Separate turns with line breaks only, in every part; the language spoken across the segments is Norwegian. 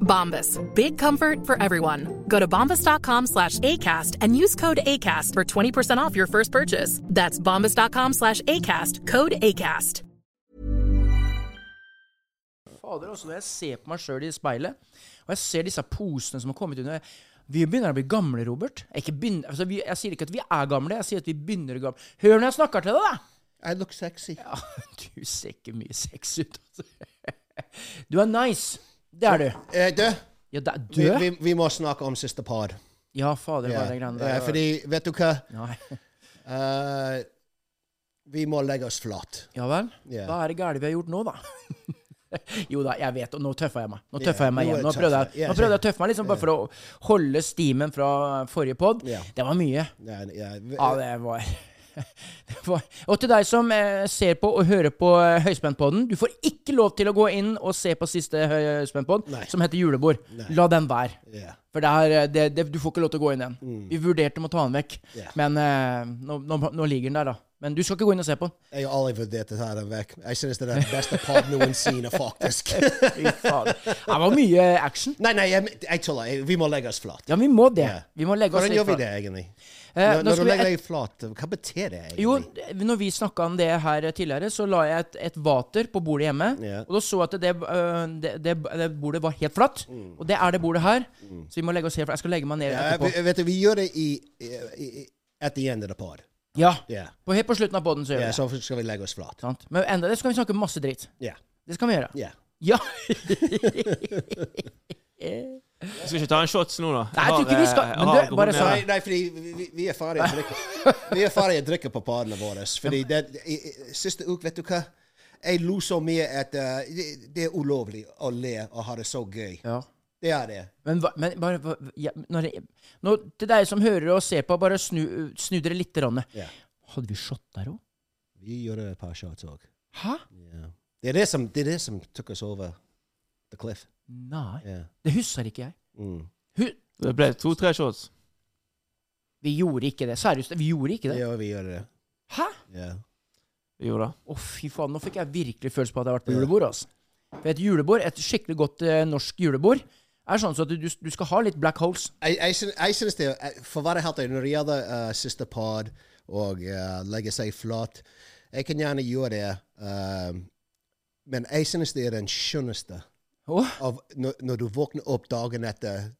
Bombas. Big comfort for everyone. Go to bombas.com slash ACAST and use code ACAST for 20% off your first purchase. That's bombas.com slash ACAST. Code ACAST.
Fader, altså, når jeg ser på meg sjøl i speilet, og jeg ser disse posene som har kommet under Vi begynner å bli gamle, Robert. Jeg, ikke begynner, altså, vi, jeg sier ikke at vi er gamle, jeg sier at vi begynner å bli gamle. Hør når jeg snakker til deg, da!
I look sexy.
Ja, du ser ikke mye sex ut, altså. Du er nice. Det er du.
Eh, du,
Ja, det er
vi,
du.
vi, vi må snakke om siste par.
Ja, fader, hva er det greiene der?
Ja, eh, fordi, vet du hva?
Nei.
Eh, vi må legge oss flat.
Ja vel?
Ja.
Hva er det gærent vi har gjort nå, da? jo da, jeg vet, og nå tøffa jeg meg. Nå
Ja,
tøffa jeg meg
nå er
igjen. Nå
du
prøvde
tøffere.
jeg,
Ja,
nå prøvde jeg å tøffe meg, liksom bare for å holde stimen fra forrige pod.
Ja.
Det var mye.
Nei, ja, vi-
Ja, det var det var- Og til deg som eh, ser på og hører på eh, Høyspentpodden, du får ikke lov til å gå inn og se på siste eh, Høyspentpodd,
Nei.
som heter Julebord. La den være.
ja. Mm.
For det er, eh, det, det, du får ikke lov til å gå inn igjen. Vi vurderte om å ta den vekk,
Ja.
men eh, nå, nå, nå ligger den der, da. Men du skal ikke gå inn og se på den.
Jeg har aldri vurdert å ta den vekk. Jeg synes det er den beste pod noensinne, faktisk.
Fy faen. Det var mye action.
nei, nei, jeg, jeg tuller. Jeg- Vi må legge oss flat.
Ja, vi må det.
Ja.
Vi må legge oss
Hvordan
litt
gjør vi
flat.
det, egentlig?
Eh, nå
Når, når du
skal vi et,
legger deg flat, hva betyr det egentlig?
jo, når vi snakka om det her tidligere, så la jeg et, et vater på bordet hjemme.
Ja.
Og da så jeg at det, øh, det, det, det bordet var helt flatt. Og det er det bordet her. Så vi må legge oss helt flatt. Jeg skal legge meg ned
Mm. Ja,
etterpå.
vi- vet du, vi gjør det i, i, i at the end of the pod.
Ja.
Ja.
På, helt på slutten av poden så gjør
Ja,
vi det.
så skal vi legge oss flat.
Sant? Men enda det skal vi snakke masse dritt.
Ja.
Det skal vi gjøre.
ja.
Ja.
Skal vi ikke ta en shots nå, da?
Nei, jeg tror ikke vi skal-
eh,
men
har
du, bare
alkohol
sånn.
nede.
Nei, nei, fordi vi, vi- vi er ferdige å drikke. Vi er ferdige å drikke på podene våre. Fordi det, i, i, siste uke, vet du hva? Jeg lo så mye at eh, det, det er ulovlig å le og ha det så gøy.
ja.
Det er det.
Men, hva- men bare, hva- ja, når jeg, nå, Til deg som hører og ser på, bare snu, snu dere litt. Ranne.
Ja.
Hadde vi shot der òg?
Vi gjorde et par shots òg.
Hæ?
Det er det som, det er det som tok oss over the cliff.
Nei.
Ja.
Det husker ikke jeg.
Mm.
Hu-
Det ble to-tre shots.
Vi gjorde ikke det. Seriøst, vi gjorde ikke det.
Ja, vi gjør det.
Hæ?
Ja.
Jo da.
Å, fy faen. Nå fikk jeg virkelig følelse på at jeg har vært på julebord. Altså. For et julebord, et skikkelig godt eh, norsk julebord, er sånn så at du, du skal ha litt black holes.
Jeg, jeg, syn- jeg synes det jeg- For å være helt ærlig, når det gjelder eh, siste pod og eh, legge seg flat Jeg kan gjerne gjøre det, eh, men jeg synes det er den skjønneste
Åh.
av når, når du våkner opp dagen etter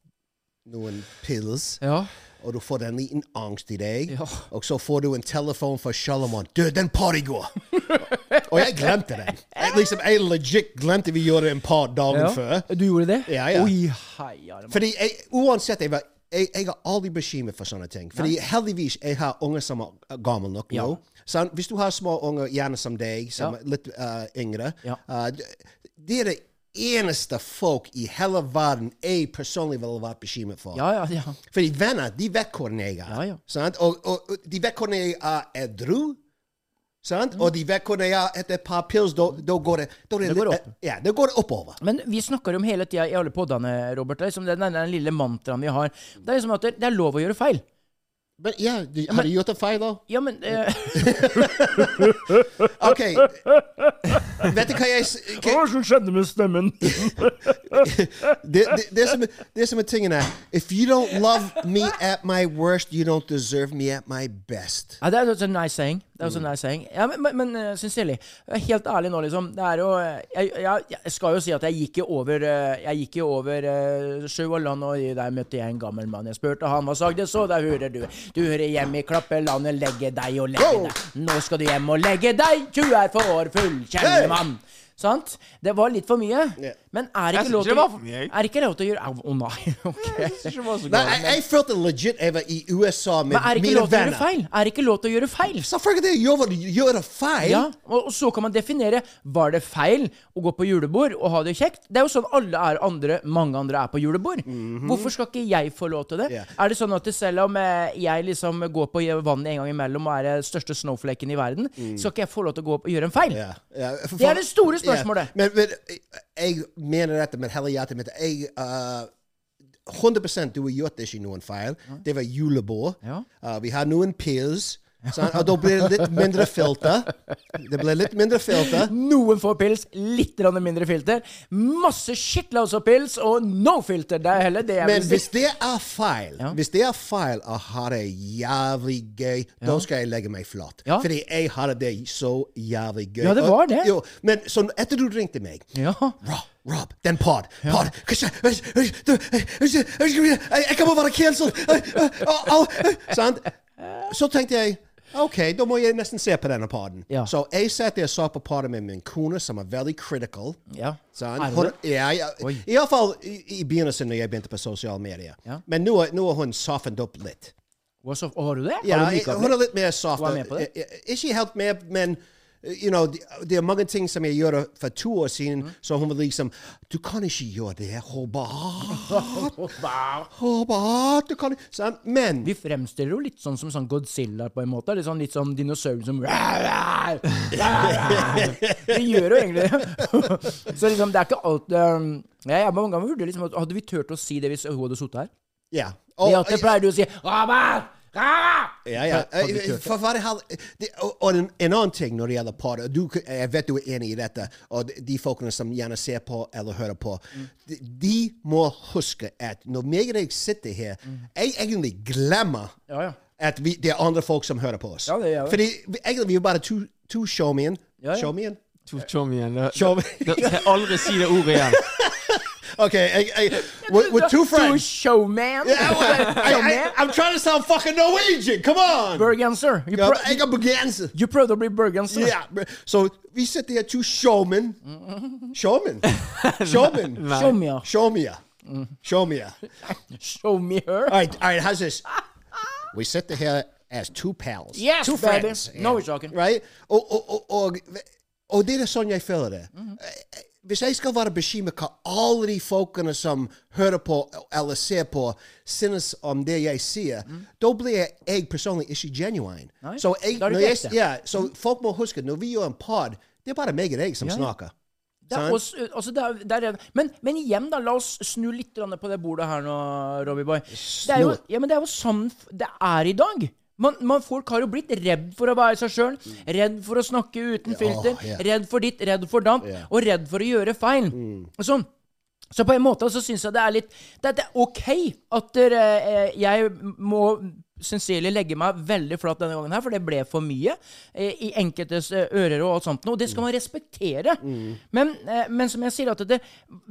noen pills,
Ja.
og du får en liten angst i deg,
Ja.
og så får du en telefon fra Shalomon 'Du, den pod i går!' og jeg glemte den. Jeg, liksom, jeg legit glemte vi gjorde en pod dagen før.
Du gjorde det?
Ja, ja.
Oi, heia. det må-
Fordi jeg, uansett, jeg, var- jeg, jeg er aldri bekymret for sånne ting. Fordi heldigvis jeg har unger som er gamle nok
Ja.
nå. Sant? hvis du har små unger, gjerne som deg, som
Ja.
er litt eh, yngre
Ja.
eh, d- Det er det eneste folk i hele verden jeg personlig ville vært bekymret for.
Ja, ja, ja.
Fordi venner, de vet hvordan jeg er.
Ja, ja.
Sant? Og, og, og de vet hvordan jeg er edru.
Mhm.
Sant? Og de vet hvordan jeg er etter et par pills. Da da går det da er
Det går
litt-
opp.
Ja, det går oppover.
Men vi snakker om hele tida i alle poddene, Robert, det er liksom den, den, den lille mantraen vi har. Det er liksom at det det er lov å gjøre feil.
Men ja, du, har du gjort en feil, da?
Ja, men eh,
OK. Vet du hva jeg s- hva-
Hva skjedde med stemmen?
det, det, det, som, det som er tingen er If you don't love me at my worst, you don't deserve me at my best.
Ja, that was a nice saying. That
Mm.
was a nice saying. Ja, men, men, men eh, sincerely, eh, helt ærlig nå, liksom. Det er jo eh, jeg, jeg, jeg skal jo si at jeg gikk jo over eh, Jeg gikk jo over eh, sjø og land, og i- der møtte jeg en gammel mann. Jeg spurte han hva sagde, så der hører du. Du hører hjemme i klappelandet, legge deg og legge deg. Nå skal du hjem og legge deg, du er for år full, kjære
Hey!
mann. Sant? Det var litt for mye.
Ja.
Men er
Jeg
ikke
synes
lov
ikke
til
det var for mye, jeg.
Er ikke lov til å gjøre Au, Å nei. ok.
Jeg synes ikke det var
Nei,
så galt.
jeg, jeg følte legit jeg var i USA med
Men er ikke
mine
lov til å gjøre
venner.
feil? Er ikke lov til å gjøre feil?
Selvfølgelig det gjør du gjør det feil.
Ja, og, og så kan man definere var det feil å gå på julebord og ha det kjekt. Det er jo sånn alle er andre, mange andre er på julebord. Hvorfor skal ikke jeg få lov til det?
Mhm. Ja.
Er det sånn at det, selv om eh, jeg liksom går på vannet en gang imellom og er den største snowflaken i verden, skal ikke jeg få lov til å gå opp og gjøre en feil?
Mm. Ja, ja, for-
Det er det store spørsmålet.
Ja. Men, men jeg mener dette med hele hjertet mitt. Jeg eh, 100 du har gjort ikke noen feil. Det var julebord.
Ja.
Eh, vi har noen pills. sant? Og da blir det litt mindre filter. Det blir litt mindre filter.
Noen får pils, litt grann mindre filter. Masse shitloads av pils, og no filter! Det er heller det jeg
Men
vil
hvis
si.
det er feil, hvis det er feil å ha det jævlig gøy, da skal jeg legge meg flat.
Ja.
Fordi jeg hadde det så jævlig gøy.
Ja, det
Og-
var det.
Jo, men så etter du ringte meg
Ja.
Rob, Rob, den pod. Pod. Kanskje- du- Jeg jeg kommer være cancelled! Au, au, au. Sant? Så tenkte jeg OK, da må jeg nesten se på denne poden.
Ja.
Så jeg satt der og så på poden med min kone, som er veldig critical.
ja.
Sant?
Er det
Hun,
det?
ja, ja, Iallfall i, i begynnelsen når jeg begynte på sosiale medier.
Ja.
Men nå er- nå har hun softened opp litt.
Hva så- Har du det?
Ja,
har du myka opp
hun er
litt?
litt mer soft.
Hun er med på det?
Eh, eh, Ikke helt med, men eh, you know, det det er mange ting som jeg gjorde for to år siden, så hun var liksom Du kan ikke gjøre det, Håbart. Håbart, du kan sant? Men
Vi fremstiller jo litt sånn som sånn Godzilla på en måte. Litt sånn, litt sånn dinosaurer som Vi gjør jo egentlig det. Så liksom, det er ikke alt um, ja, Jeg mange ganger vurderte liksom at Hadde vi turt å si det hvis hun hadde sittet her?
Ja.
Oh,
Og-
alltid pleier du å si «Rabar! Rabar!»
Ja, ja.
Hadde vi turt det?
For hva det hel- det, og, og en, en annen ting når det gjelder par du, Jeg vet du er enig i dette, og de, de folkene som gjerne ser på eller hører på. De, de må huske at når meg og deg sitter her, jeg egentlig glemmer
Mm. Ja, ja.
at vi, det er andre folk som hører på oss.
Ja, det gjør vi.
Fordi vi, egentlig vi er bare to, to showmen.
Ja, ja.
Showmen?
To chom igjen. Det-
Chom.
det- Jeg kan aldri si det ordet igjen.
OK. Jeg, jeg, we're, we're two
To
friends.
showman.
Yeah, I, I, I, I'm trying to sound fucking Norwegian! Come on!
Bergenser. You,
Ja,
prøv-
Jeg er bergenser.
you prøvde å bli bergenser.
Yeah, bro. so we sit there, two showmen, showmen, showmen,
Show me her.
show me, ya. show me. ya.
Show me her.
All right, all right. How's this? We sit here as two pals,
Yes,
two
baby.
friends.
Know what you're talking.
right? Oh, oh, oh, oh. Og det er sånn jeg føler det. Eh, Hvis jeg skal være bekymret hva alle de folkene som hører på eller ser på, synes om det jeg sier, da blir jeg, jeg personlig ikke genuine.
Nei,
Så, jeg,
da er du
når jeg,
ekte.
ja, så folk må huske, når vi gjør en pod, det er bare meg og deg som
Ja, ja.
snakker.
Det er
Sant?
også, altså det er, det er, men, men igjen, da. La oss snu litt grann på det bordet her nå, Robbie Boy. Det er jo,
Snu det.
ja, men det er jo sånn f- det er i dag. Man, man, folk har jo blitt redd for å være seg sjøl, redd for å snakke uten filter,
ja.
redd for ditt, redd for datt,
Ja. Mm.
og redd for å gjøre feil. Sånn. Så på en måte så syns jeg det er litt Det, det er OK at dere, eh, jeg må sincerlig legge meg veldig flat denne gangen her, for det ble for mye eh, i enkeltes eh, ører og alt sånt noe. Det skal man respektere. Men, eh, men som jeg sier, at det,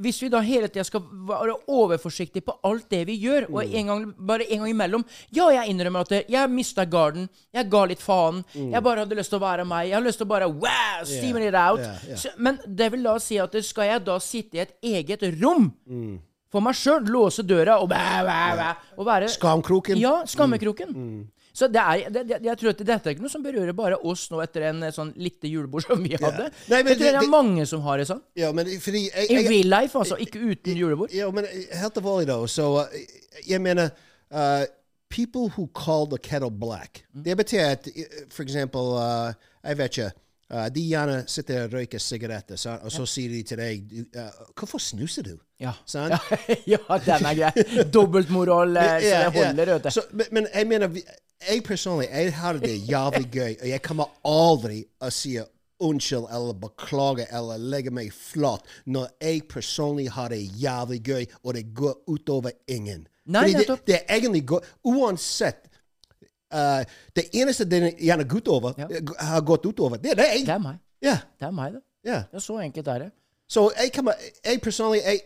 hvis vi da hele tida skal være overforsiktige på alt det vi gjør, og en gang, bare en gang imellom Ja, jeg innrømmer at det- jeg mista garden. Jeg ga litt faen. Jeg bare hadde lyst til å være meg. Jeg har lyst til å bare wow, steamer it out.
Ja, ja.
Så, men det vil da si at det- skal jeg da sitte i et eget rom
Mm.
for meg sjøl, låse døra og, bæ, bæ, bæ, og være
Skamkroken.
Ja, skammekroken.
Mm.
Mm. Så det er, det, det, jeg tror at dette er ikke noe som berører bare oss nå etter en eh, sånn lite julebord som vi hadde.
Nei, men
jeg tror det,
det-
er
det-
mange som har det sånn.
Ja, men fordi jeg,
I
jeg,
real life, altså. Ikke uten julebord.
Ja, men helt alvorlig da, så uh, jeg mener, uh, people who call the kettle black, det betyr at, uh, for eksempel, uh, jeg vet ikke, uh, de gjerne sitter og røyker sigaretter, sant? og så sier de til deg, du, uh, hvorfor snuser du?
Ja.
Sant?
ja, den er grei. Dobbeltmoral, eh, så
Ja,
det
ja.
holder, vet du.
Så, men, men jeg mener, vi- jeg personlig jeg har det jævlig gøy, og jeg kommer aldri å si unnskyld eller beklage eller legge meg flat når jeg personlig har det jævlig gøy, og det går utover ingen.
Nei,
Fordi det,
nettopp.
det er egentlig gå- Uansett eh, Det eneste det gjerne går utover, eh,
Ja.
har gått utover, det er deg.
Det er meg.
Ja,
Det er meg, det.
ja.
Ja, så enkelt er det.
Så jeg, kan, jeg personlig jeg,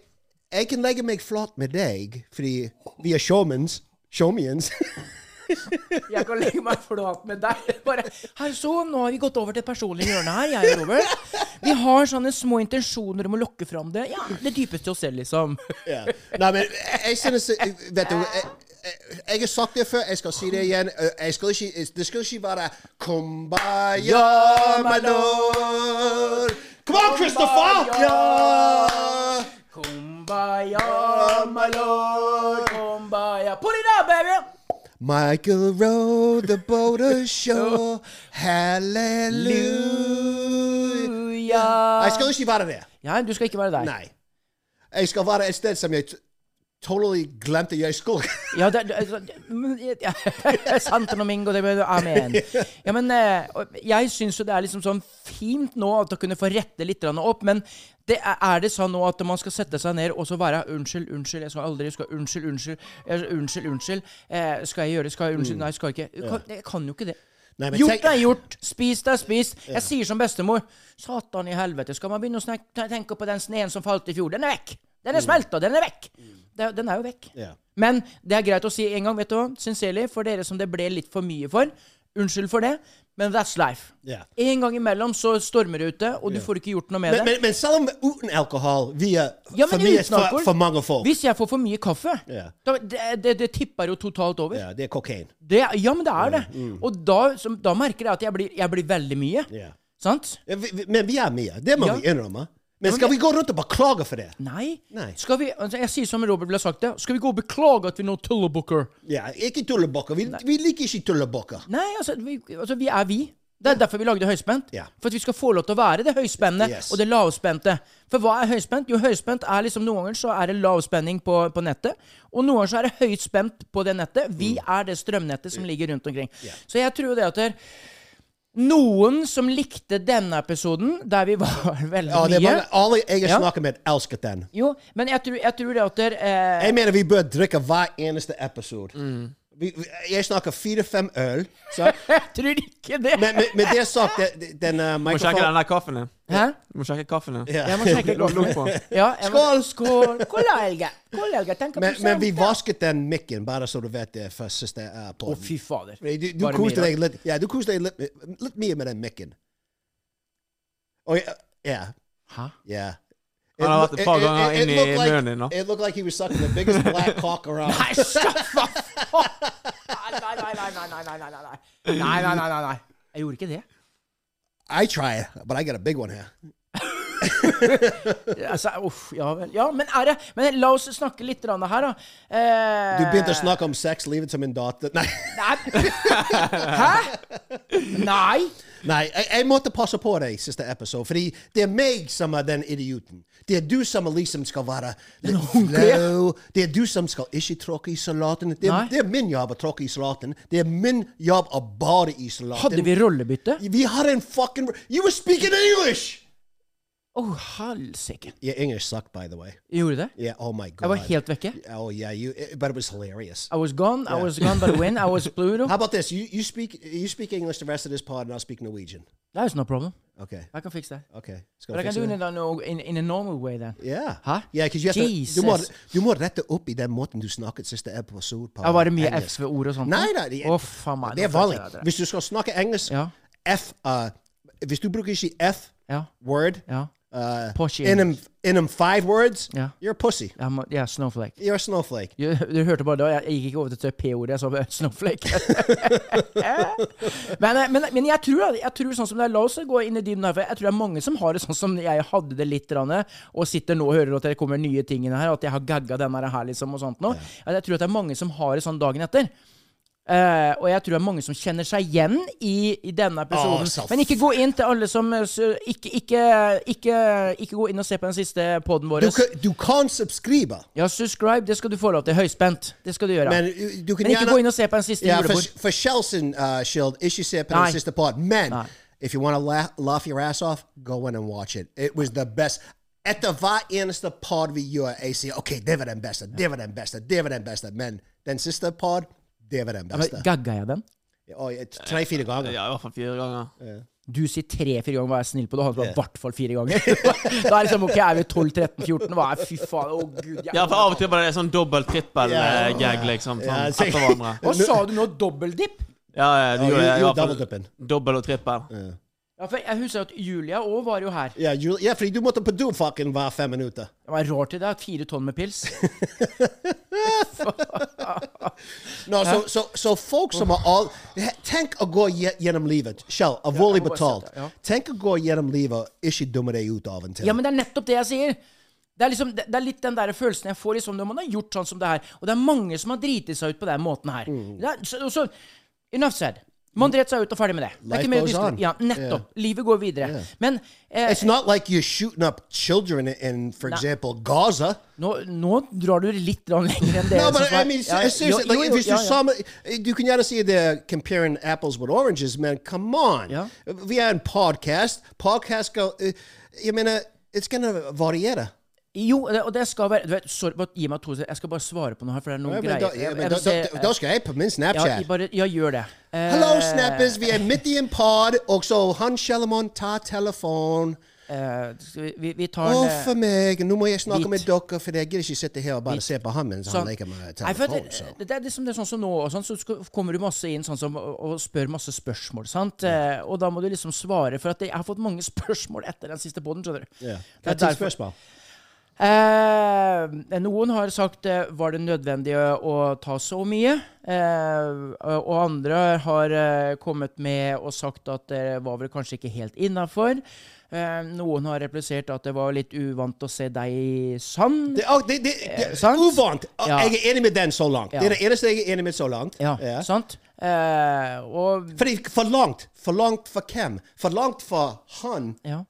jeg kan legge meg flat med deg, fordi vi er showmans. Showmans.
Jeg kan legge meg flat med deg. Bare, her så, Nå har vi gått over til det personlige hjørnet her, jeg og Robert. Vi har sånne små intensjoner om å lokke fram det Ja, det dypeste i oss selv, liksom.
Ja. Nei, men jeg synes Vet du jeg, jeg- jeg har sagt det før, jeg skal si det igjen. Jeg skal ikke, øh, det skal ikke være er. Kumbaya, my lord. Kom an, Christopher! Ja!
Kumbaya, my lord. Kumbaya. Pull it up, baby!
Michael rowed the boat ashore. Hallelujah. Jeg skal ikke være det.
Ja, du skal ikke være deg.
Nei. er. Jeg skal være et sted som jeg t- totally glemte jeg skulle.
Ja, det, det, det- men- ja, Sant og mingo, det betyr amen. Ja, men eh, og jeg syns jo det er liksom sånn fint nå at å kunne få rette litt grann opp, men det er, er det sånn nå at man skal sette seg ned og så være unnskyld, unnskyld, jeg skal aldri skal unnskyld, unnskyld, eh, unnskyld, unnskyld. Eh, skal jeg gjøre det? Skal jeg unnskyld? Nei, skal jeg ikke. Jeg kan, jeg kan jo ikke det.
Mm. Nei, men
Gjort
tenk-
er gjort. Spist er spist. Jeg sier som bestemor Satan i helvete, skal man begynne å snek- te- tenke på den sneen som falt i fjor? Den er vekk! Den er smelta, den er vekk! Det- Den er jo vekk.
Mm. Ja.
Men det er greit å si en gang, vet du hva, sincerely, for dere som det ble litt for mye for. Unnskyld for det, men that's life.
Ja.
En gang imellom så stormer det ute, og du får ikke gjort noe med
Men,
det.
men, men selv om uten alkohol, vi er
Ja,
for
men
mye
uten
for,
alkohol.
for mange folk.
Hvis jeg får for mye kaffe,
Ja.
da, det, det, det tipper jo totalt over.
Ja, det er kokain.
Det, ja, men det er det. Og da, som, da merker jeg at jeg blir, jeg blir veldig mye.
Ja.
Sant?
Ja, vi- vi- Men vi er mye. Det må
Ja.
vi innrømme. Men skal vi gå rundt og beklage for det?
Nei.
Nei.
Skal vi, altså, jeg sier som Robert ville sagt det. Skal vi gå og beklage at vi nå tullebukker?
Ja, ikke tullebakker. Vi, vi liker ikke tullebakker.
Nei, altså vi, altså vi er vi. Det er derfor vi lagde høyspent.
Ja.
For at vi skal få lov til å være det høyspennende
Yes.
og det lavspente. For hva er høyspent? Jo, høyspent er liksom Noen ganger så er det lavspenning på, på nettet, og noen ganger så er det høyt spent på det nettet. Vi
Mm.
er det strømnettet som ligger rundt omkring. Så jeg tror det at der, noen som likte denne episoden, der vi var veldig
Ja, det
mye
var, alle jeg har
Ja.
snakket med, elsket den.
Jo, men jeg tror, jeg tror det at der, eh,
Jeg mener vi bør drikke hver eneste episode.
Mm.
Vi, vi- jeg snakker fire-fem øl. Så,
Jeg tror ikke det.
men, men, men det sagt, det- det- den uh,
Må sjekke den
mikrofonen
der kaffen din.
Hæ?
Du Må sjekke kaffen din.
Ja.
Jeg må sjekke
Lukk lukk på den.
Ja, jeg må-
Skål!
Skål! Skål, Helge! Skål, Helge. Tenk på
men, men vi
selv.
vasket den mikken, bare så du vet det, for siste uh,
Å,
podden.
fy fader.
Du, du
Bare
koste
mye,
deg litt Ja, du koste deg litt, litt mye med den mikken. Og ja, ja,
Hæ?
ja.
Han har vært et par ganger inn i
looked like-
munnen din nå.
It looked like he was sucking the biggest black cock around.
Nei, slapp av! Nei, nei, nei, nei, nei, nei, nei, nei, nei. Nei, nei, nei, nei, nei. Jeg gjorde ikke det.
I try it, but I got a big one here.
Altså, uff, ja vel. Ja, men er det Men la oss snakke litt grann her, da. Eh,
Du begynte å snakke om sex, livet som en datter. Nei,
Nei. Hæ? Nei.
nei jeg, jeg måtte passe på deg siste episode, fordi det er meg som er den idioten. Det er du som er liksom skal være litt flau. Det er du som skal ikke tråkke i salaten. Det
Nei.
er, det er min jobb å tråkke i salaten. Det er min jobb å bade i salaten.
Hadde vi rollebytte?
Vi hadde en fucking You were speaking English!
Å, helsike.
Yeah, English sucked, by the way.
Gjorde det?
Yeah, oh my god.
Jeg var helt vekke.
Oh yeah, you. It, but it was hilarious.
I was gone, I was gone by the wind, I was Pluto.
How about this? You you speak you speak English the rest of this pod, and I'll speak Norwegian.
That is no problem.
Okay,
I can fix that.
okay. Let's go
But I can
fix
do
it
it
then.
in a, no- in, in a normal way then.
Yeah.
Huh?
Yeah, because you have to. Du må,
Jesus.
du må rette opp i den måten du snakket siste episode på.
Ja, var det mye
engelsk.
F-ord og sånt?
Nei, nei. Det,
Å, faen meg,
det er
nå
vanlig.
forstår jeg det.
Hvis du skal snakke engelsk,
Ja.
F uh, Hvis du bruker ikke
Ja.
F-word
Ja.
uh,
Posh
innom innom five words,
Ja.
you're a pussy.
Jeg må- Ja, snowflake.
You're a snowflake.
Du, du hørte bare da, jeg gikk ikke over til P-ordet, jeg sa bare snowflake. men, eh, men, men jeg tror, jeg tror sånn som det er, la oss gå inn i dybden her, for jeg tror det er mange som har det sånn som jeg hadde det litt, grann, og sitter nå og hører at det kommer nye ting inn her, at jeg har gagga denne her liksom, og sånt nå. Jeg tror at det er mange som har det sånn dagen etter. Eh, og jeg tror det er mange som kjenner seg igjen i, i denne episoden.
selv-
Men ikke gå inn til alle som eh, s- ikke, ikke, ikke, ikke gå inn og se på den siste poden vår.
Du, kan- du kan subscribe.
Ja, subscribe, det skal du få lov til. Høyspent. Det skal du gjøre.
Men, eh, du kan
Men ikke
gjerne-
gå inn og se på den siste
Ja,
julebord.
for, for Shelson uh, Shield, ikke se på
Nei.
den siste pod. Men
Nei.
if you want to la laugh your ass off, go in and watch it. It was the best. Etter hver eneste pod vi gjør, jeg sier OK, det var den beste, det var den beste, det var den beste. Men den siste pod, det var den
Men
beste.
Gagga jeg den?
Oi, et- Tre-fire ganger.
Ja, i hvert fall fire ganger.
Du sier tre-fire ganger, vær snill på det. Han sa i hvert fall fire ganger. da er det liksom, ok, er vi 12-13-14? Hva er Fy faen, å gud. Jeg,
Ja, for av og til bare det er sånn dobbel trippel
Ja.
eh, gag, liksom. Sånn,
Ja,
etter hverandre.
Hva sa du nå? Dobbeldipp?
Ja, ja, du
Ja,
gjorde det.
you-
i
you
hvert fall.
double dipping.
Dobbel og trippel.
Ja, for jeg husker at Julia òg var jo her.
Ja, Jul- ja, fordi du måtte på do fucking hver fem minutter.
Det var rart i det. Fire tonn med pils.
No, så, så, så folk som er all... Tenk å gå gje- gjennom livet, Kjell, alvorlig
jeg må bare
betalt.
sette, ja.
Tenk å gå gjennom livet, ikke dumme deg ut av en til.
Ja, men det er nettopp det jeg sier. Det er, liksom, det det er litt den der følelsen jeg får liksom, når man har gjort sånn som det her. Og det er mange som har driti seg ut på den måten her.
Mm.
Det er, så, og så, enough said. Man dret seg ut og ferdig med det. det er
Life
ikke mer å
goes
diskutere.
on.
Ja, nettopp. Livet går videre. Men eh,
It's not like you're shooting up children in, for example, Gaza.
nå, nå drar du litt grann lenger enn det.
no, but
som var-
I mean,
Ja,
seriously,
jo, jo,
like,
jo,
if you
ja, ja.
saw me- you can kind of see they're comparing apples with oranges, man. Come on.
Yeah.
We had in podcast. Podcast go, uh, you mean, uh, it's going to variera.
Jo, det- og det skal være du vet, sorry, bare Gi meg to sekunder. Jeg skal bare svare på noe her, for det er noen
Ja, men
greier.
da- ja,
Jeg-
men
jeg
da-
vil se,
da- da skal jeg på min Snapchat.
Ja, bare, ja gjør det. Eh,
Hello, snappers. Vi er midt i en pod, og så han Shellamon tar telefon.
eh, skal vi, vi, vi tar eh,
Å, Oh, for meg. Nå må jeg snakke
Hvit.
med dere, for jeg gidder ikke sitte her og bare se på han mens han
Sånn.
leker med
Nei, for at
telefon.
det,
Så.
det, er liksom det er sånn som nå, og sånn, så skal, kommer du masse inn sånn som, og, og spør masse spørsmål. sant? Eh, og da må du liksom svare, for at jeg har fått mange spørsmål etter den siste poden. skjønner du?
Ja.
Det er
Hva er ditt
derfor-
spørsmål?
Eh, noen har sagt eh, var det nødvendig å ta så mye? Eh, og andre har eh, kommet med og sagt at det var vel kanskje ikke helt innafor. Eh, noen har replisert at det var litt uvant å se deg i sand.
Det, å, det, det, det,
sant?
Uvant! Å,
Ja.
Jeg er enig med den så langt.
Ja.
Det er det eneste jeg er enig med så langt.
Ja,
Ja.
sant? Eh, og
Fordi for langt. For langt for hvem? For langt for han,
Ja.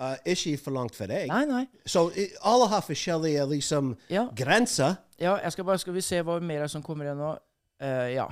uh, ikke for langt for deg.
Nei, nei.
Så eh, alle eh, har forskjellige liksom,
Ja.
grenser.
Ja, jeg skal bare Skal vi se hva mer som kommer igjen nå. Eh, ja.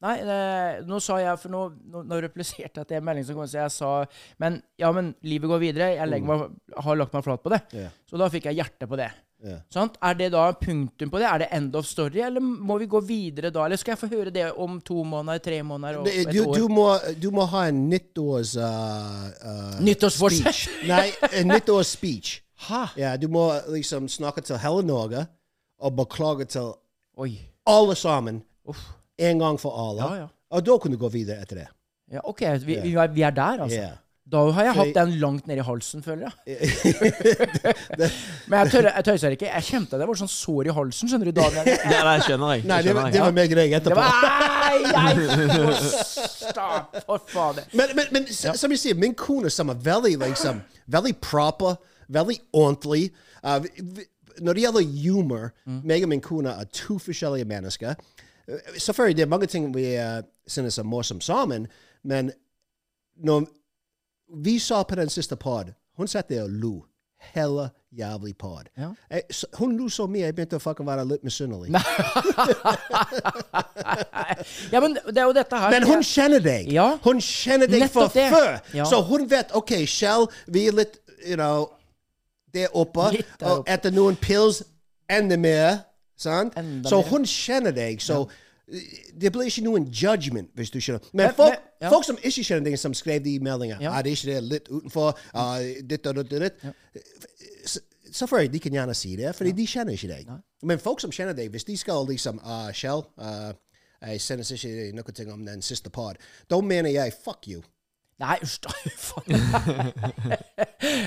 Nei, eh, nå sa jeg For nå, nå, nå repliserte jeg til en melding som kom, så jeg sa Men ja, men livet går videre. Jeg legger meg, har lagt meg flat på det.
Mm. Ja.
Så da fikk jeg hjerte på det.
Ja.
Sant? Er det da punktum på det? Er det end of story, eller må vi gå videre da? Eller skal jeg få høre det om to måneder, tre måneder og
Det-
et
Du,
år?
du, må, du må ha en nyttårs... Uh, uh,
Nyttårsforsett.
speech. eh, Nei, en nyttårsspeech. Ja, eh, du må liksom snakke til hele Norge og beklage til
Oi.
alle sammen
Uff.
en gang for alle. Oh,
Ja, ja.
Og da kan du gå videre etter det.
Ja, OK, vi, vi, er, vi er der, altså.
Ja. Nou,
Da har jeg hatt
Fordi-
den langt ned i halsen, føler jeg. Men jeg, tør, jeg tøyser ikke. Jeg kjente det var sånn sår i halsen, skjønner du, Daniel.
Ja, det skjønner jeg.
Nei, det, var-
skjønner
det
jeg.
var meg og deg
Det
etterpå.
var Nei, jeg Stopp, for fader.
Men, men, men s- som jeg sier, min kone som er veldig liksom, veldig proper, veldig ordentlig. Uh, vi- vi- når det gjelder humor, meg og min kone er to forskjellige mennesker. Uh, Selvfølgelig, det er mange ting vi uh, synes er morsomt sammen, men når vi sa på den siste pod, hun satt der og lo. Hele jævlig pod.
Ja.
Jeg, så, hun lo så mye, jeg begynte å fucking være litt misunnelig.
Ja, men det er jo dette her
Men hun kjenner deg.
Ja.
Hun kjenner deg fra
Nettopp det.
før.
Ja.
Så hun vet OK, Shell, vi er litt you know, der oppe.
Litt der
og
oppe.
etter noen pills enda mer. Sant?
Enda
så
mer.
hun kjenner deg. Så det blir ikke noen judgment, hvis du skjønner. Men
Men-
folk,
men- ja.
folk som ikke kjenner deg, som skrev de meldingene
Ja.
Er det ikke det litt utenfor? Ah, ditt og ditt og ditt. Så- Selvfølgelig, de kan gjerne si det, fordi de kjenner ikke deg. Men folk som kjenner deg, hvis de skal liksom ah, Shell, ah, jeg sendes ikke noe ting om den siste pod. Da mener jeg fuck you.
Nei, usch da. Faen.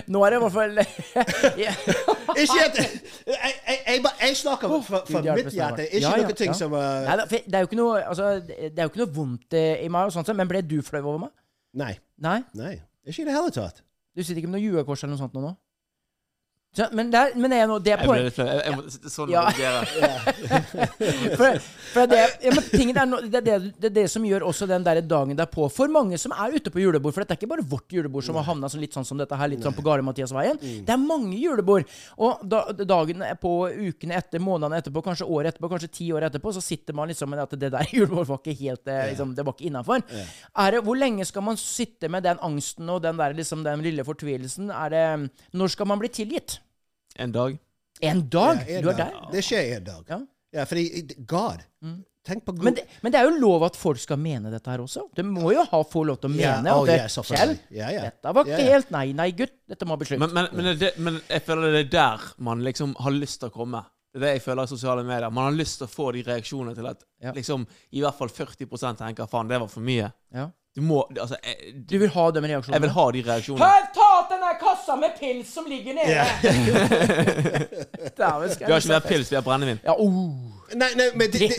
Nå er det i hvert fall Ja.
Ikke at Jeg, jeg, jeg, bare- jeg snakker for, for
Gud hjelpe
mitt
oss, Steinar.
hjerte. Ikke
Ja, ja,
noe ting
ja.
som ah,
Nei, da, for det er jo ikke noe altså, Det er jo ikke noe vondt eh, i meg, og sånt, men ble du flau over meg?
Nei.
Nei?
Nei. Ikke i det hele tatt.
Du sitter ikke med noe juekors eller noe sånt nå? nå? Så, men, der, men det er noe, det er
Jeg ble
poenget.
litt flau. Jeg- jeg må- Sånn
Ja.
reagerer.
For, for det, ja, men tingen er, no- det, er det, det er det som gjør også den der dagen derpå for mange som er ute på julebord. For dette er ikke bare vårt julebord som har havna sånn, litt sånn som dette her, litt sånn på Gare-Mathias-veien.
Mm.
Det er mange julebord. Og da, dagen på ukene etter, månedene etterpå, kanskje året etterpå, kanskje ti år etterpå, så sitter man liksom med at det der julebordet var ikke helt eh, liksom, Det var ikke innafor. Hvor lenge skal man sitte med den angsten og den der liksom den lille fortvilelsen? Er det Når skal man bli tilgitt?
En dag.
En dag?
en
du er
dag.
der?
Det skjer en dag.
Ja. Mm.
Ja, fordi God. Tenk på Gud.
Men det, men det er jo lov at folk skal mene dette her også. Du må jo ha, få lov til å
Ja,
mene.
oh,
at det,
ja, selvfølgelig.
Kjell,
Ja, ja.
dette var
Ja,
ikke
ja.
helt Nei, nei, gutt. Dette må bli slutt.
Men, men, men, er det, men jeg føler det er der man liksom har lyst til å komme. Det er det jeg føler i sosiale medier. Man har lyst til å få de reaksjonene til at
Ja.
liksom, i hvert fall 40 tenker 'faen, det var for mye'.
ja.
Du må, altså, jeg,
Du vil ha de
jeg vil
reaksjonene?
ha de reaksjonene.
Her, ta ut den der kassa med pils som ligger nede! Dæven, skal
Vi har
jeg
ikke mer pils, vi har brennevin.
Ja, oh.
Nei, nei, men det,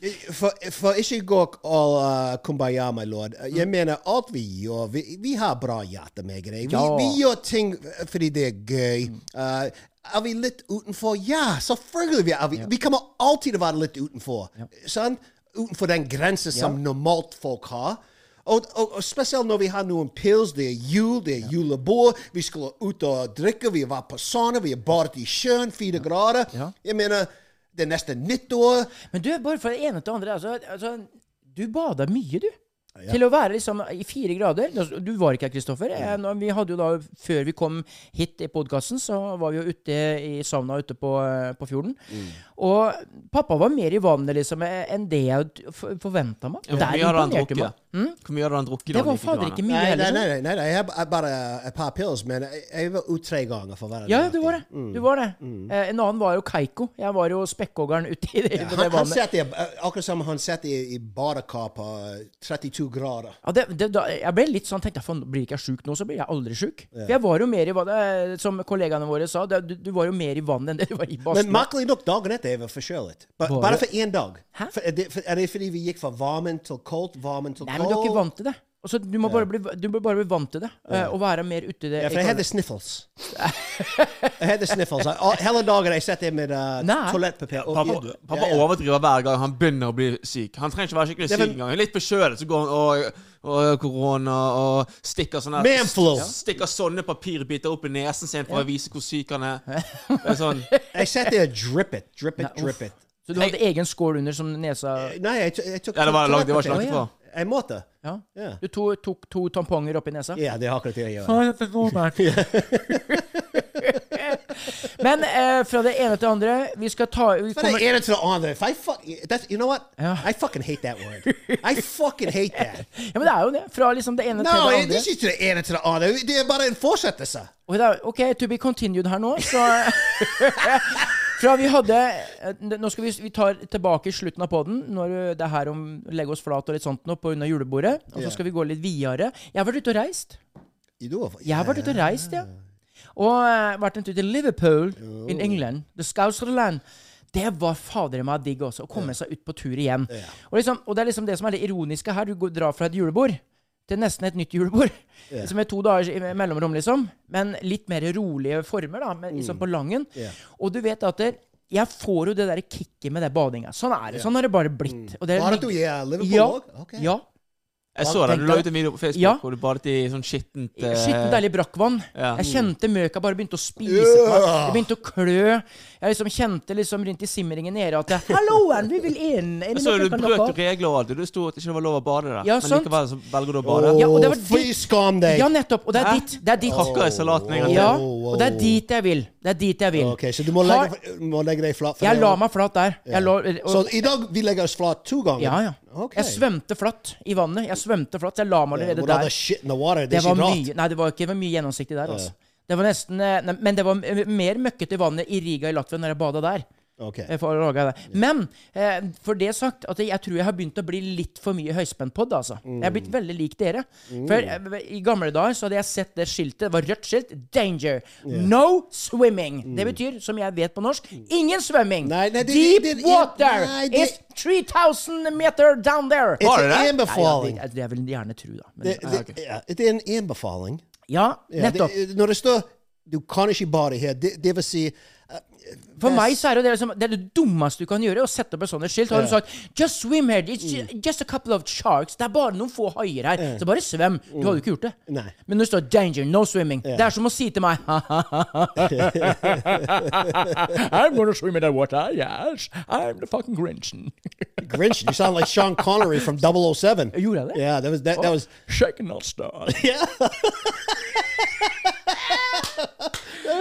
det, for, for ikke gå all uh, kumbaya, my lord.
Mm.
Jeg mener, alt vi gjør Vi, vi har bra hjerte med greier. Vi,
Ja.
vi gjør ting fordi det er gøy. Uh, er vi litt utenfor? Ja, selvfølgelig vi er vi. Vi kommer alltid til å være litt utenfor. Sant? Utenfor den grensen som normalt folk har. Og, og, og spesielt når vi har noen nou pils, det er jul, det er julebord, vi skulle ut og drikke, vi var på sauna, vi er badet i sjøen, fire grader.
Ja.
Jeg mener, det er nesten nyttår.
Men du, bare fra det ene til det andre altså, altså, Du bada mye, du. Til å være liksom i fire grader. Altså, Du var ikke her, Kristoffer. Eh,
Mm.
nå- Vi hadde jo da, Før vi kom hit i podkasten, så var vi jo ute i sauna ute på, eh, på fjorden.
Mm.
Og pappa var mer i vannet liksom, eh, enn det jeg forventa meg.
Hvor
Der
mye hadde han
imponerte meg.
drukket? Hvor mye hadde han drukket? da
Hm? Det var
han gikk i
fader
krana?
ikke mye
Nei, nei,
heller.
nei,
sånn.
nei, nei, nei. Jeg har jeg har bare et par pills, men jeg, jeg var ute tre ganger for hver
Ja, ja, du var det.
Mm.
Du var det. Eh, En annen var jo Keiko. Jeg var jo spekkhoggeren uti det, på
Han,
det
han
vannet.
satt i, akkurat som han satt i, i badekar på eh, 32 grader.
Ja, det, det, da, jeg ble litt sånn, tenkte jeg, faen, blir ikke jeg sjuk nå, så blir jeg aldri sjuk. For jeg var jo mer i vannet, som kollegaene våre sa, det, du, du var jo mer i vannet enn det du var i
Men
badstuen.
merkelig nok, dagen etter jeg var forkjølet. Ba-
Bare-
Bare for én dag.
Hæ?
For, er, det, for, er det fordi vi gikk fra varmen til koldt, varmen til
Nei, men du er ikke
koldt?
vant til det. Altså, du må bare bli, du må bare bli vant til det, eh, og være mer uti det.
Ja, for jeg hadde sniffles. jeg hadde sniffles. Jeg- og Hele dagen jeg satt der med uh,
Nei.
toalettpapir. og-
Pappa, pappa overdriver hver gang han begynner å bli syk. Han trenger ikke være skikkelig
Det er
syk
vel-
engang. Litt på kjølet så går han og, korona og stikker sånne
Man flu.
s- Stikker sånne papirbiter opp i nesen sin for å vise hvor syk han er. Det er sånn
Jeg satt der og drippet, drippet,
uff.
drippet.
Så du hadde egen skål under som nesa...
Nei, jeg, to- jeg tok
Ja, det var langt, det var ikke
toalettpapir.
langt ifra.
Jeg måtte.
Ja.
Ja.
Du to, tok to tamponger oppi nesa?
Ja, det er akkurat det jeg gjør.
Men eh, fra det ene til det andre, vi skal ta... Vi
But I
kommer,
added to the honor. If I fuck, that's you know what?
Yeah.
I fucking hate that word. I fucking hate that.
ja, men det er jo det. Fra liksom det ene til
No,
det
it-
andre.
this is to the added to the honor. They about to enforce it, this. uh.
Og da, OK, to be continued her nå, så Fra vi hadde eh, Nå skal vi, vi tar tilbake slutten av poden, når det er her om legge oss flat og litt sånt nå pga. julebordet. Og
Ja.
så skal vi gå litt videre. Jeg har vært ute og reist.
You do have.
Jeg har vært ute og reist, ja. Og eh, vært en tur til Liverpool in England. The Scouserland. Det var fader meg digg også, å komme seg ut på tur igjen. Og, liksom, og det er liksom det som er det ironiske her. Du går, drar fra et julebord til nesten et nytt julebord. Som er to dager i mellomrom, liksom. Men litt mer rolige former, da. Men,
Mm.
liksom på Langen. Og du vet at det, jeg får jo det derre kicket med det badinga. Sånn er det. Sånn har det bare blitt. Og det er
Var Mm. det
ligg-
du- ja, Liverpool
ja,
også? Ok.
ja.
Jeg så det. Du la ut en video på Facebook
Ja.
hvor du badet i sånn skittent eh,
Skittent deilig brakkvann.
Ja.
Jeg kjente møka bare begynte å spise på meg. Det begynte å klø. Jeg liksom kjente liksom rundt i simringen nede at jeg, 'Halloen, vi vil inn!' Er det
Så
noen
du
som kan
brøt
lokke opp?
regler og alt. Du sto at det ikke var lov å bade der.
Ja,
Men
sant.
likevel så velger du å bade.
Oh,
Ja,
ja,
og det var
free
ditt-
scum day.
Ja, nettopp. Og det er
Hæ?
ditt. Det er
Tråkka
ditt.
i salaten en gang
Ja,
til.
og det er dit jeg vil. Det er dit jeg vil.
Okay, så du må
Har-
legge, må legge deg flat. for
Jeg
det.
la meg flat der. Jeg la, og,
Så i dag vi legger oss flat to ganger.
ja, ja.
Ok.
Jeg svømte flatt i vannet. Jeg svømte flatt, så jeg la meg
Yeah,
allerede
with all
der.
the shit in the water,
Det
this
var
is rot.
mye, nei, det var ikke det var mye gjennomsiktig der, altså. Det var nesten, eh, nei, men det var eh, mer møkkete vannet i Riga i Latvia når jeg bada der.
Okay.
Eh, For å lage det. Men eh, for det sagt, at jeg tror jeg har begynt å bli litt for mye høyspentpod. Altså. Jeg har blitt
Mm.
veldig lik dere. For eh, i gamle dager så hadde jeg sett det skiltet. Det var rødt skilt. 'Danger'. 'No swimming'. Det betyr, som jeg vet på norsk, ingen svømming.
Mm. Nei, nei, det-
Deep
det- det-
water
nei, det-
is 3000 meter down there.
It's
det
Nei,
an Ah,
det?
ja, det,
anbefaling.
det vil jeg gjerne tro, da. Men, eh,
Det- det- ja, Det er en anbefaling.
ja,
Ja,
nettopp.
det- Når det står Du kan ikke bare her. Det, det vil si eh,
For
det-
meg så er jo det, liksom, det er det dummeste du kan gjøre, å sette opp et sånt skilt. Har du
Ja. Mm.
sagt 'Just swim here. It's ju- just a couple of sharks'. Det er bare noen få haier her. Så bare svøm. Du hadde jo ikke gjort det.
Mm. Nei.
Men når det står 'danger, no swimming', det er som å si til meg I'm gonna swim in that water, yes. I'm the fucking Grinchen.
Grinch. You sound like Sean Connery from 007.
Gjorde jeg det?
Yeah, that was that,
Oh,
that was
Shaken not star.
yeah.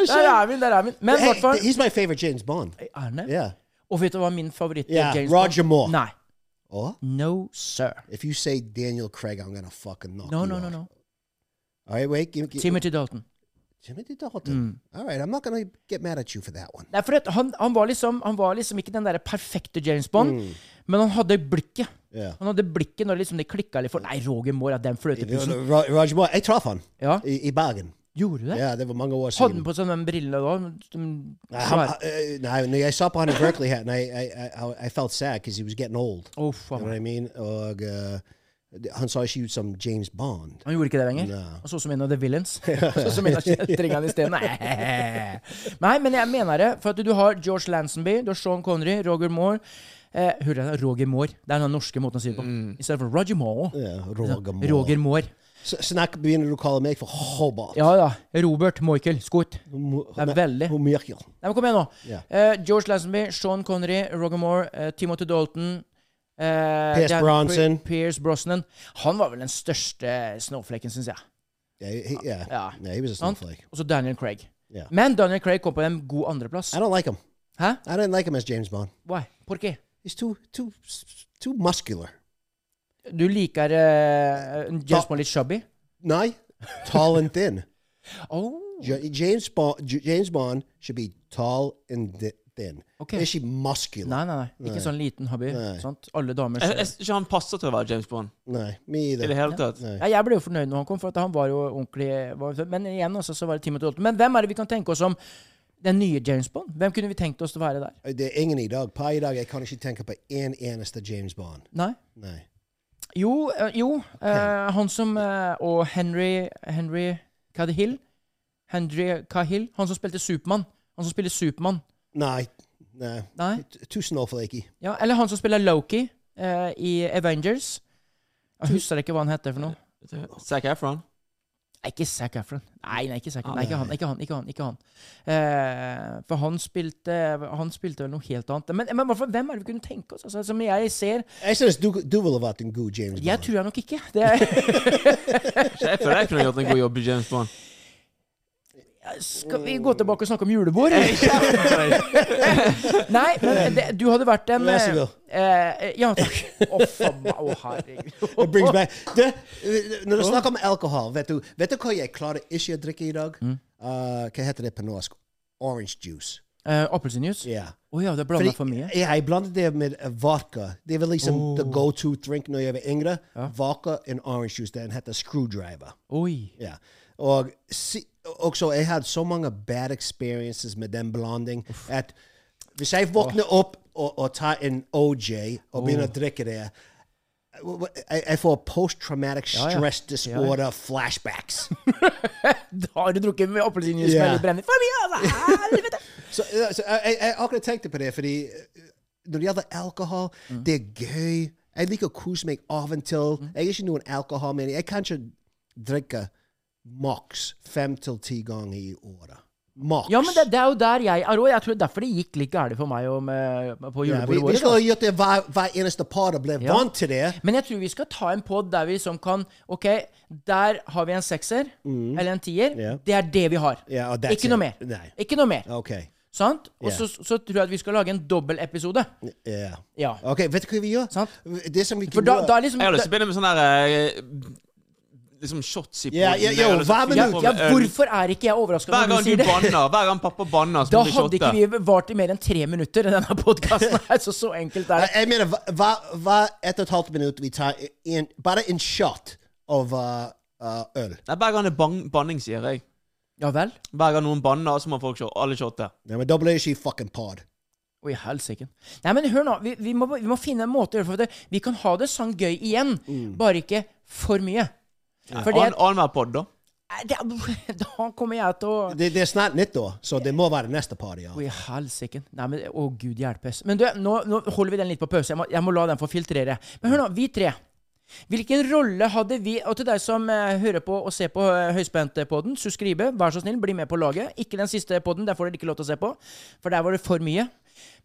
Der er vi, der er vi. Men i
Hey,
hvert fall
he's my favorite James Bond.
Arne.
Yeah.
Og vet du hva min favoritt
Ja,
James
Roger
Bond-
Moore.
Nei.
Or
No, sir.
Oh? if you say Daniel Craig, I'm gonna fucking knock
No,
you
no, no,
out.
no.
All right, wait. Give, give,
Timothy Hmm. Dalton.
Timothy Dalton. All right, I'm not gonna get mad at you for that one.
Nei, for at han, han, var liksom, han var liksom ikke den der perfekte James Bond,
Mm.
men han hadde blikket.
Yeah.
Han hadde blikket når liksom det klikka litt for Nei, Roger Moore er den fløtepusen.
Ro- Roger Moore. Jeg traff han
Ja.
i, i Bergen.
Gjorde du det?
Ja, det var mange år
Hadde han
siden.
på seg de brillene da? De,
Nei, han,
svære.
eh, nei, når jeg så på han i Berkeley Hat, and I, I, I, I felt sad because he was getting old.
Å,
You know
faen.
what I mean? Og eh, han sa ikke ut som James Bond.
Han gjorde ikke det lenger?
Nei.
Han så ut som en av the villains? så som en av kjeltringene isteden? Nei. Nei, men jeg mener det. For at du har George Lansonby, du har Sean Connery, Roger Moore eh, Hører jeg det? Roger Moore. Det er den norske måten å si det på. I stedet for Roger Moore.
Ja, Mm. Roger Moore.
Roger Moore.
S- Snakk begynner du å kalle meg for Hobart.
Ja da. Robert Michael Scott.
Mo-
Det er veldig
Mo- Merkel.
Nei, men Kom igjen nå.
Ja.
Eh, George Lansby, Sean Connery, Roger Moore, eh, Timothy Dalton eh,
Pierce
det er-
Bronson.
P- Pierce Brosnan. Han var vel den største snowflaken, syns jeg.
Yeah, he, yeah.
Ja.
yeah, he was a
Sant?
snowflake.
Og så Daniel Craig.
Ja.
Men Daniel Craig kom på en god andreplass.
I don't like him.
Hæ?
I didn't like him as James Bond.
Why? Por qué?
He's too too too muscular.
Du liker eh, James
Da-
Bond litt chubby?
Nei, tall and thin.
Oh.
J- James Bond J- James Bond should be tall and thi- thin.
Okay.
Is she muscular?
Nei, nei, nei. Ikke sånn liten hobby.
Nei.
Sant? Alle damer
Jeg,
skjønner.
jeg synes ikke han passer til å være James Bond.
Nei, me
I det
either.
hele tatt.
Nei.
Ja, jeg ble jo fornøyd når han kom, for at han var jo ordentlig var, Men igjen også, så var det Timothy Dalton. Men hvem er det vi kan tenke oss som den nye James Bond? Hvem kunne vi tenkt oss til å være der?
Det er ingen i dag. Per i dag jeg kan ikke tenke på én eneste James Bond.
Nei?
Nei.
Jo, eh, jo eh, han som eh, Og Henry Henry Cahill? Henry Cahill? Han som spilte Supermann? Han som spiller Supermann?
Nei. Nei.
Nei?
T- Too snowflakey.
Ja, eller han som spiller Loki eh, i Avengers? Jeg husker ikke hva han heter for noe.
Zac Efron.
Nei, ikke Zac Efron. Nei, nei, ikke Zac Efron. Nei, ikke han, ikke han, ikke han. ikke han. Eh, for han spilte Han spilte vel noe helt annet. Men, men i hvert fall, hvem er det vi kunne tenke oss? Altså, som jeg ser
Jeg syns du, du ville vært en god James Bond.
Jeg tror jeg nok ikke. Det er,
Jeg føler jeg kunne gjort en god jobb i James Bond.
skal vi gå tilbake og snakke om julebord? Nei, men det, du hadde vært en
Vær så god.
eh, eh, ja, takk. Å, faen. Å, herregud.
It brings back. Du, når du snakker om alkohol, vet du, vet du hva jeg klarer ikke å drikke i dag? Uh, hva heter det på norsk? Orange juice.
Eh, Appelsinjuice? Å
Yeah.
ja, det er blanda for mye.
Ja, jeg blandet det med eh, vodka. Det var liksom the go-to drink når jeg var yngre. Vodka and orange juice. Den heter screwdriver.
Oi.
Ja. Og si, også, jeg hadde så mange bad experiences med den blanding at hvis jeg våkner opp og, og tar en OJ og begynner å drikke det jeg, jeg får post-traumatic
ja.
stress disorder flashbacks.
Da har du drukket med appelsinjuice
Ja.
med litt brennevin. For mye, altså! Helvete!
så eh, så jeg, jeg, jeg akkurat tenkte på det, fordi eh, når det gjelder alkohol,
Mm.
det er gøy. Jeg liker å kose meg av og til. Jeg er ikke noen alkoholmenn. Jeg kan ikke drikke maks fem til ti ganger i året. Maks.
Ja, men det, det er jo der jeg er òg. Jeg tror det er derfor det gikk litt gærent for meg om, eh, på
Ja,
julebordet
vi, vi
vårt.
skulle ha
da.
gjort det hver, hver eneste par og ble
Ja.
vant til det.
Men jeg tror vi skal ta en pod der vi liksom kan OK, der har vi en sekser eller en tier.
Mm. Ja.
Det er det vi har.
Ja, og that's
ikke noe
it.
mer.
Nei.
Ikke noe mer.
Ok.
Sant? Og
Ja.
så, så tror jeg at vi skal lage en dobbeltepisode.
Ja.
Ja.
Ok, vet du hva vi gjør?
Sant.
Det som vi
For
kan
da, da
gjøre
er liksom
Jeg har lyst til å
da,
begynne med sånne der, eh, liksom shots i
Ja,
poden.
ja,
Jeg
ja,
har lyst til å
hver
fylle
minutt.
på
Ja,
med øl.
hvorfor er ikke jeg overraska
eh, Hver
når
gang
du
du
sier det?
banner, hver gang pappa banner, så
Da
blir
hadde
det
ikke
shotte.
vi vart i mer enn tre minutter i denne podkasten her, så så enkelt er det.
Jeg mener, hva- hva- hver ett og et halvt minutt vi tar en, bare en shot av uh, uh, øl.
Nei, hver gang det er ban- banning, sier jeg.
Ja vel?
Hver gang noen banner, så må folk se alle shotte.
Ja, men da blir det ikke fucking pod.
Oi, helsike. Nei, men hør nå. Vi, vi, må, vi må finne en måte å gjøre det på. for at Vi kan ha det sånn gøy igjen, bare ikke for mye. For det
Annen annen hver pod, da.
Nei, det- Da kommer jeg til å
Det, det er snart nyttår, så det må være neste party. Ja.
Å, i helsike. Nei, men Å, gud hjelpes. Men du, nå, nå holder vi den litt på pause. Jeg må, jeg må la den få filtrere. Men hør nå, vi tre. Hvilken rolle hadde vi Og til deg som eh, hører på og ser på eh, Høyspentpodden, subscribe, vær så snill, bli med på laget. Ikke den siste podden, der får dere ikke lov til å se på, for der var det for mye.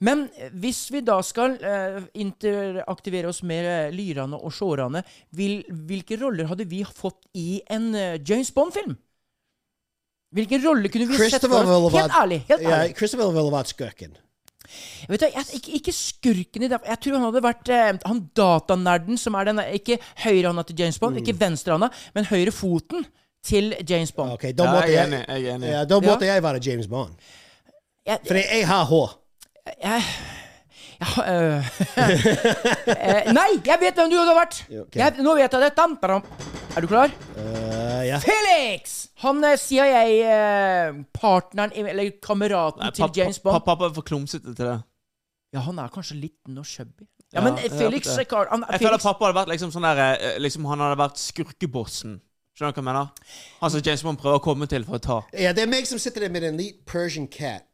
Men eh, hvis vi da skal eh, interaktivere oss med eh, lyrene og sjårene, vil, hvilke roller hadde vi fått i en eh, James Bond-film? Hvilken rolle kunne vi sett for
Christopher ville
oss?
vært
Helt ærlig. Helt
ja,
ærlig.
Christopher ville vært skurken.
Vet du, hva, jeg, ikke, ikke skurken i det. Jeg tror han hadde vært eh, han datanerden som er den Ikke høyrehånda til James Bond,
Mm.
ikke venstrehånda, men høyrefoten til James Bond.
Ok, Da
Ja,
måtte
jeg
jeg,
er enig. Jeg er enig.
ja, da måtte
Ja.
jeg være James Bond.
Jeg-
For jeg har hår.
Jeg, jeg, har- øh, eh, nei, jeg vet hvem du hadde vært!
ok.
Jeg, nå vet jeg det. Dam, dam. Er du klar?
Eh, ja.
Felix! Han eh, er CIA-partneren, eh, eller kameraten
Nei,
til
pappa-
James Bond.
Pappa pappa er for klumsete til det.
Ja, han er kanskje liten og chubby. Ja,
Ja,
men
jeg
Felix,
vet det.
Carl- han,
Jeg føler
Felix
pappa hadde vært liksom sånn der eh, liksom Han hadde vært skurkebossen. Skjønner du hva jeg mener? Han som James Bond prøver å komme til for å ta.
ja, det er meg som sitter der med en liten Persian cat.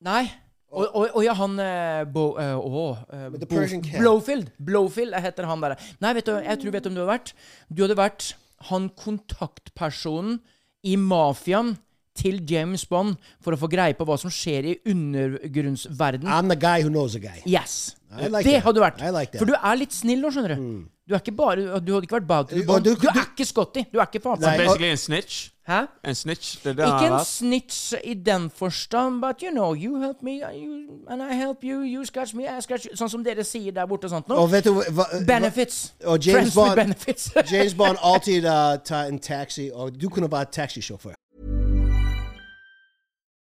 Nei. Og, og, og ja, han eh, Bo... eh, åh, eh,
Med The
Bo-
Persian Cat.
Blowfield. Blowfield eh, heter han der. Nei, vet du, jeg tror jeg vet hvem du hadde vært. Du hadde vært han kontaktpersonen i mafiaen til James Bond for å få greie på hva som skjer i undergrunnsverden.
I'm the guy who knows a guy.
Yes.
Ah. I like
det
that.
hadde du vært.
I like that.
for du er litt snill nå, skjønner du. Du er ikke bare Du hadde ikke vært bad
Og
til Bond.
du-
Du,
du-
er ikke Scotty. Du er ikke faen
Nei,
Basically en snitch.
Hæ?
En snitch. Det er det
Ikke
han
en
har vært.
snitch i den forstand, but you know, you help me, I- you, and I help you, you scratch me, I scratch you. Sånn som dere sier der borte og sånt nå.
Og vet du hva- hva
Benefits.
Og James
Friends with
Bond-
benefits.
James Bond alltid uh, tar en taxi, og du kunne vært taxisjåfør.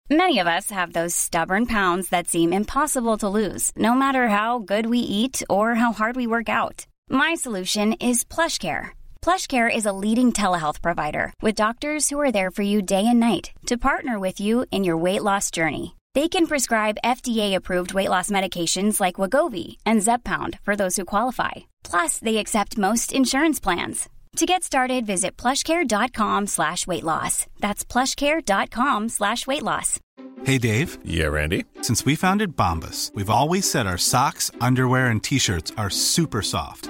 Many of us have those stubborn pounds that seem impossible to lose, no matter how good we eat or how hard we work out. My solution is PlushCare. PlushCare is a leading telehealth provider with doctors who are there for you day and night to partner with you in your weight loss journey. They can prescribe FDA-approved weight loss medications like Wagovi and Zepbound for those who qualify. Plus, they accept most insurance plans. To get started, visit plushcare.com slash weight loss. That's plushcare.com slash weight loss.
Hey, Dave.
Yeah, Randy.
Since we founded Bombus, we've always said our socks, underwear, and t shirts are super soft.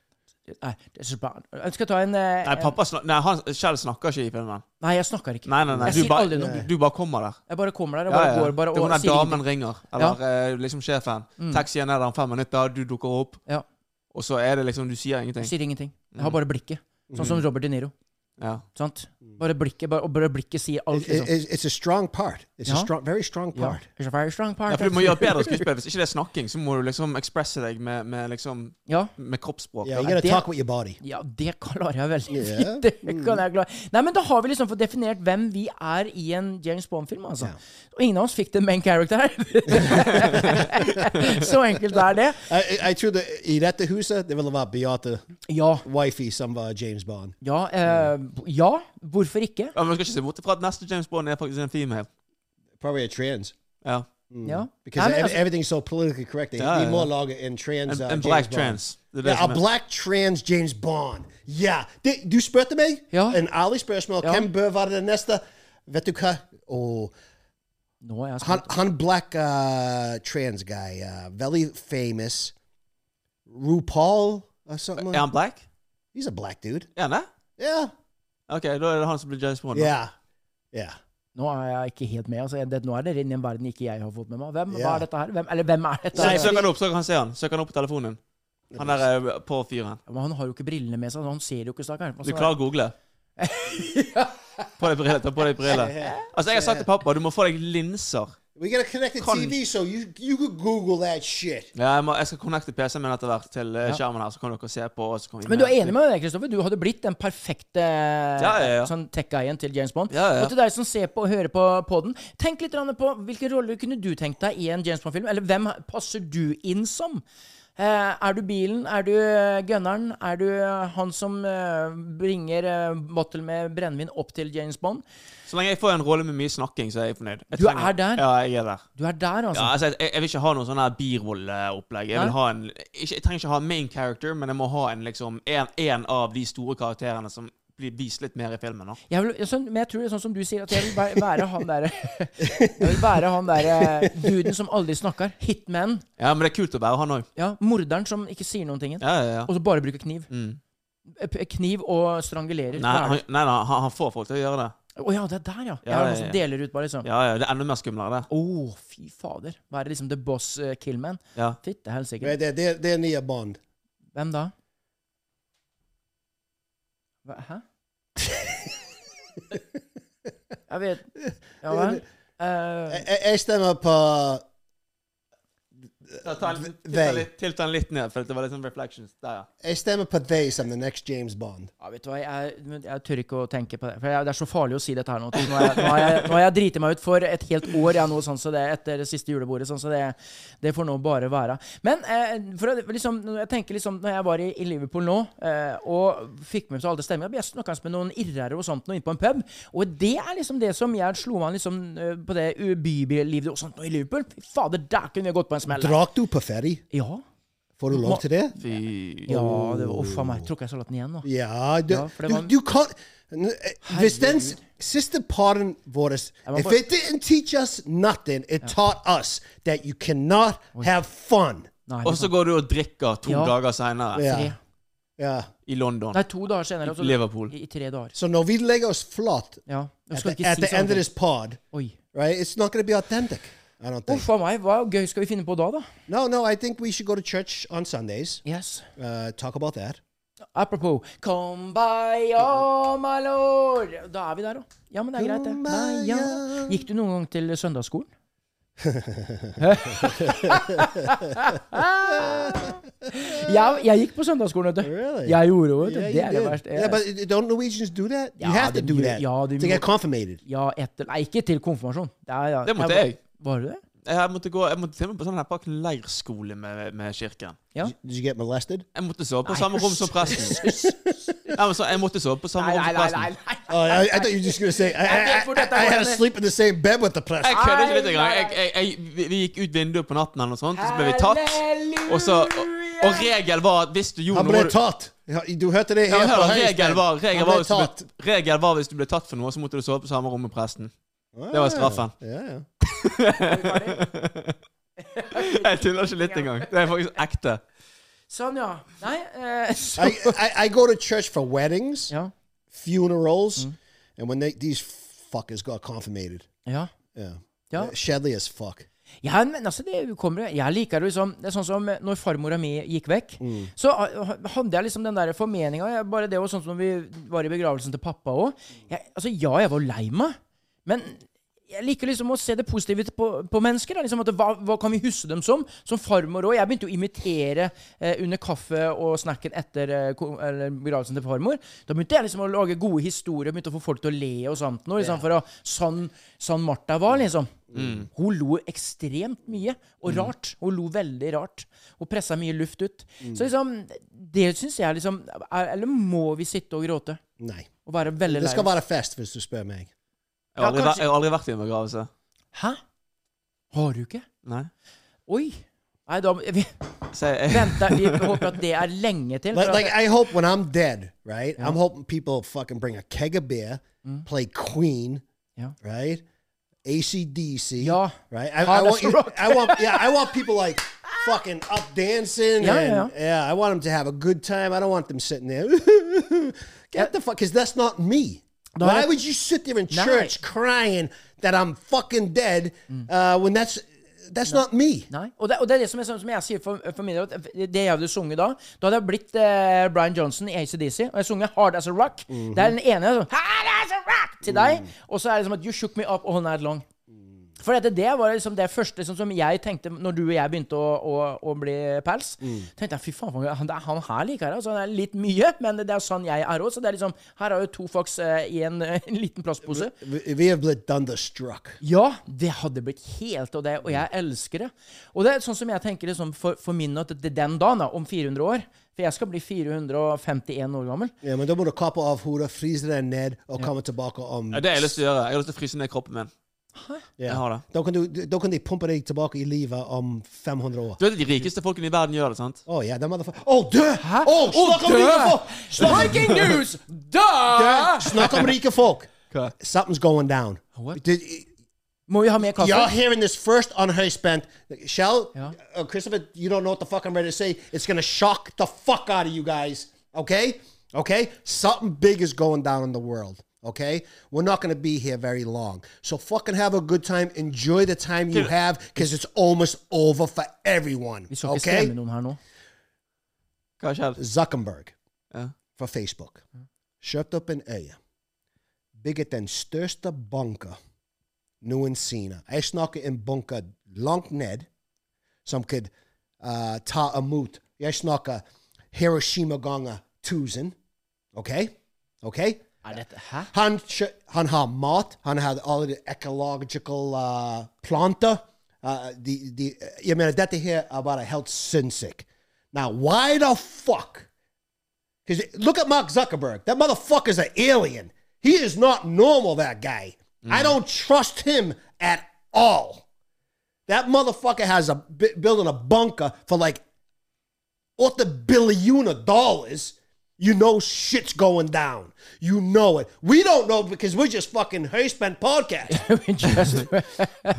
Nei, this is bad. Jeg skal ta en... eh,
Nei, pappa snak nei, han selv snakker ikke i filmen.
Nei, jeg snakker ikke.
Nei, nei, nei.
Jeg
Du
sier
bare,
aldri noe.
du- du bare kommer der.
Jeg bare kommer der, jeg bare går bare
Det er
og
når
sier
damen
ingenting.
ringer, eller eh, liksom sjefen. Taxien er der om fem minutter, du dukker opp,
Mm. Ja,
og så er det liksom Du sier ingenting.
sier ingenting. Jeg
Mm.
har bare blikket. Sånn
Mm.
som Robert De Niro,
Ja.
sant? Bare blikket, bare, og bare blikket sier alt,
It, it,
liksom.
it's- it's a strong part. It's a
Ja.
strong, very strong
Ja.
Eh, part.
It's a very strong part.
ja, for du må gjøre bedre skuespill. Hvis ikke det er snakking, så må du liksom ekspresse deg med, med liksom
Ja.
Med kroppsspråk.
Yeah, you gotta
det-
talk with your body.
Ja, det klarer jeg veldig
Ja. Mm.
fint. Det kan jeg klare. Nei, men Da har vi liksom fått definert hvem vi er i en James Bond-film. altså. Og ingen av oss fikk the main character her. Så enkelt er det.
I, I- I threw the i dette huset, det ville vært Beate,
Ja.
wifey som var James Bond.
Ja, eh, ja. Hvorfor ikke?
Ja, men vi skal ikke se bort ifra at neste James Bond er faktisk en female.
Probably a trans.
Ja.
Ja.
Mm.
Nei,
Because
men
ev-
altså,
everything's so politically correct. They
Ja,
need
ja.
more lager in trans.
En,
uh,
en
James
black
Bond.
trans. Det er det
Yeah, a
som er.
black trans James Bond. Ja. Det, du spurte meg
Ja.
en ærlig spørsmål.
Ja.
Hvem bør være den neste? Vet du hva? Åh,
nå er jeg
han,
spent.
han black uh, trans guy, uh, very famous. RuPaul or something. like-
Er han black?
He's a black dude.
Er han det?
Yeah.
Ok, da er det han som blir James Bond. da.
Yeah. Yeah.
Nå er jeg ikke helt med. altså. Jeg- Det, nå er dere inne i en verden ikke jeg har fått med meg. Hvem, Hva
Ja.
er dette her? Hvem, eller hvem er dette?
Søk,
Nei,
her?
søk han opp, så kan han se han. Søk han opp på telefonen. Han der eh, på fyren.
Ja, Men han har jo ikke brillene med seg, så han ser jo ikke, stakkar.
Du klarer å google? På deg briller, ta på deg briller. Altså, jeg har sagt til pappa, du må få deg linser.
We got a connected
Con-
TV, so you you could Google that shit.
Ja, jeg, må, jeg skal connecte PC-en min etter hvert til eh, skjermen her, så kan dere se på. Og så kan vi
Men du er enig med meg, Kristoffer? Du hadde blitt den perfekte
Ja, ja, ja.
sånn tech-guyen til James Bond.
Ja, ja, ja.
Og til deg som ser på og hører på podden, tenk litt grann på hvilke roller kunne du tenkt deg i en James Bond-film? Eller hvem passer du inn som? Eh, er du bilen? Er du eh, gunneren? Er du eh, han som eh, bringer eh, bottle med brennevin opp til James Bond?
Så lenge jeg får en rolle med mye snakking, så er jeg fornøyd. Jeg
Du
trenger-
er der?
Ja, jeg er der.
Du er der,
Ja,
altså.
altså, jeg, jeg vil ikke ha noe sånn her birolleopplegg. Jeg,
Nei?
vil ha en- ikke- jeg trenger ikke ha en main character, men jeg må ha en, liksom, en, en av de store karakterene som blir vist litt mer i filmen. Da.
Jeg vil, sånn, men jeg tror det er sånn som du sier, at jeg vil væ- være han derre Jeg vil være han derre eh, duden som aldri snakker. Hitman.
Ja, Men det er kult å være han òg.
Ja, morderen som ikke sier noen ting.
Ja, ja, ja.
Og så bare bruke kniv. Eh,
Mm.
P- Kniv og strangulerer.
Nei, han,
Hver-
nei, nei han, han får folk til å gjøre det.
Å ja, det er der, ja. Jeg
Ja,
har
ja,
noen som
ja.
deler ut, bare liksom. Å,
Ja, ja, Det er enda mer skumlere, det.
fy fader. Være liksom the boss eh, killman.
Ja.
Fytte helsike.
Right there, they're, they're near Bond.
Hvem da? Hva, hæ? Jeg vet Ja vel. Eh,
Jeg- jeg- Jeg stemmer på
Ta, ta, en- tilt
They.
den litt, tilt den litt ned, for det var litt sånn reflections der, ja.
Jeg stemmer på they som the next James Bond.
ja, vet du hva, jeg, men jeg tør ikke å tenke på det. For jeg, det er så farlig å si dette her nå. Nå har jeg, nå har jeg, nå har jeg driti meg ut for et helt år jeg nå, sånn så det, etter det siste julebordet. Sånn så det, det får nå bare være. Men eh, for å, liksom, når jeg tenker liksom Når jeg var i, i Liverpool nå, eh, og fikk med meg alle stemninger Jeg snakka med noen irrere og sånt nå inne på en pub, og det er liksom det som jeg slo an liksom, eh, på det u- bylivet og sånt nå i Liverpool. Fy fader, der kunne vi gått på en smell!
Drakk du på ferry?
Ja.
Får du lov
Ma-
til det?
Fy
Ja, det var Uff a meg. Tråkka jeg salaten igjen nå?
Ja, du,
Ja, for det var-
du, du kan N- eh, Hvis den s- siste paren vår
Jeg må
If
bare-
it didn't teach us nothing, it taught us that you cannot have fun.
Nei,
Og så går du og drikker to
Ja.
dager seinere
Ja.
tre.
Ja.
i London.
Nei, to dager senere. altså,
Liverpool.
I, I tre dager.
Så når vi legger oss flat
Ja. Du
at
skal
the,
ikke
at
si
the end of
sånne
this
ting.
pod,
Oi.
right, it's not going to be authentic. I don't think.
Uff a meg. Hva gøy skal vi finne på da, da?
No, no, I think we should go to church on Sundays.
Yes.
Uh, talk about that.
Apropos Come by, oh my lord. Da er vi der, da. Ja, men det er greit, det.
Come
Nei,
by,
ja.
ja.
Gikk du noen gang til søndagsskolen? jeg, jeg gikk på søndagsskolen, vet du.
Really?
Jeg gjorde det, vet du. det
you
er det
did.
verste.
Yeah, but i- don't Norwegians do that?
Ja,
you have to
det
do
gjør-
that
ja, det
to get
må-
confirmated.
ja, etter Nei, ikke til konfirmasjon. Det, er, ja.
Det måtte
var-
jeg.
Var du det?
Jeg måtte, gå, jeg måtte til og med på sånn her bak leirskole med, med kirken.
Ja.
Did you get molested?
Jeg måtte sove på
Nei,
samme rom som presten. Nei, men så, jeg måtte sove på samme rom som presten.
nei.
Oh, I, I thought you were just going to say I, I,
think for that
I- I
I
had to
wasn't-
sleep in the same bed with the press.
Jeg kødder ikke litt
Nei,
engang.
nei,
Jeg, jeg, jeg, vi- vi gikk ut vinduet på natten, eller noe sånt, og så ble vi tatt. Og, så, og, og regel var at hvis du gjorde
Han
noe
ble
du-
tatt. Ja, Du hørte det
Ja,
helt
hør,
fra høyest
regel,
hold.
var, regel,
Han
var,
ble
hvis du
tatt.
ble, regel var hvis du ble tatt for noe, så måtte du sove på samme rom med presten. Det var straffen.
Ja, ja.
Jeg tuller ikke litt engang. Det er faktisk ekte.
Sånn, ja. Nei eh, så,
I, I, I go to church for weddings,
Ja.
funerals, and when they, these fuckers got confirmated.
ja.
Yeah.
Ja.
Uh, Shedley as fuck.
Ja, men altså, det kommer jo- Jeg liker det liksom Det er sånn som eh, når farmora mi gikk vekk, så ah, hadde jeg liksom den der formeninga. Jeg- Bare det var sånn som når vi var i begravelsen til pappa òg. Altså, ja, jeg var lei meg, men jeg liker liksom å se det positive på, på mennesker. Da. Liksom at det, hva, hva kan vi huske dem som? Som farmor òg. Jeg begynte å imitere eh, under kaffe og snacken etter eh, ko- eller begravelsen til farmor. Da begynte jeg liksom å lage gode historier, begynte å få folk til å le og sånt. Nå, liksom, for å, sånn, sånn Martha var, liksom.
Mm.
Hun lo ekstremt mye, og rart. Hun lo veldig rart. Hun pressa mye luft ut.
Mm.
Så liksom, det syns jeg liksom er, Eller må vi sitte og gråte?
Nei.
Og være veldig
Det
lei
skal
oss?
være fest, hvis du spør meg.
Jeg har aldri,
Ja,
vært- jeg har aldri vært i en begravelse.
Hæ? Har du ikke?
Nei.
Oi. Nei, da vi,
Så jeg, jeg,
venter, vi håper at det er lenge til.
Like,
for at-
like I hope when I'm dead, right? I'm hoping people fucking bring a keg of beer,
Mm-hmm.
play Queen,
Ja.
right? ACDC,
Ja.
right? I,
Hard
I want
as
you,
rock.
I want yeah, I want people like fucking up dancing.
Yeah,
and,
yeah.
yeah. I want them to have a good time. I don't want them sitting there. Get the fuck, because that's not me.
No,
Why
that-
would you sit there in
No.
church crying that I'm fucking dead
Mm.
uh, when that's that's not me?
Nei. Og det, og det er det som, er, sånn som jeg sier for, for min del, at det jeg hadde sunget da Da hadde jeg blitt eh, Brian Johnson i ACDC, og jeg sunget Hard As A Rock. Det er den ene sånn, Hard As A Rock til deg, og så er det som at You Shook Me Up All Night Long. For dette, det var liksom det første sånn som jeg tenkte når du og jeg begynte å, å, å bli pels. tenkte jeg, fy faen, for- han, det er han her liker jeg. Altså, han er litt mye, men det er sånn jeg er òg. Så det er liksom, her er jo to fox eh, i en, eh, en liten plastpose.
Vi, vi har blitt dunderstruck.
Ja, det hadde blitt helt og det, og jeg elsker det. Og det er sånn som jeg tenker liksom, for, for min at det- den dagen, da, om 400 år For jeg skal bli 451 år gammel.
Ja, men da må du kappe av hodet, fryse det ned og komme tilbake om
Ja, det har jeg lyst til å gjøre. Jeg har lyst til å fryse ned kroppen min.
um, Ja.
Jeg har det.
Da kan, du, da kan de pumpe deg tilbake i livet om 500 år.
Du vet at de rikeste folkene i verden gjør det, sant?
Å Oh ja, den motherfucker Å, dø! Å,
Oh,
snakk om
dø!
rike folk! Snakk,
Breaking news! Da!
dø! snakk om rike folk!
Hva?
Something's going down.
What?
Did,
Må vi ha mer kaffe?
y'all hearing this first on her spent. Shell,
Yeah.
uh, Christopher, you don't know what the fuck I'm ready to say. It's going to shock the fuck out of you guys. Okay? Okay? Something big is going down in the world. Okay? We're not going to be here very long. So fucking have a good time. Enjoy the time you have because it's almost over for everyone.
Vi skal ikke
Okay?
skremme noen her nå.
Hva har skjedd?
Zuckerberg
Ja.
for Facebook. Kjøpte opp en øye. Bygget den største bunker noensinne. Jeg snakker en bunker langt ned som kan eh, ta imot Jeg snakker Hiroshima ganger 1000. OK? OK?
Er dette Hæ?
Han, kjø- han har mat, han har alle de ecological uh, planter. Uh, de, de, jeg mener, dette her er bare helt sinnssykt. Now, why the fuck? 'Cause Look at Mark Zuckerberg. That motherfucker's an alien. He is not normal, that guy. I don't trust him at all. That motherfucker has a bu- building a bunker for like the billion of dollars, you know shit's going down. You know it. We don't know because we're just fucking Hey Spent podcast,
Just-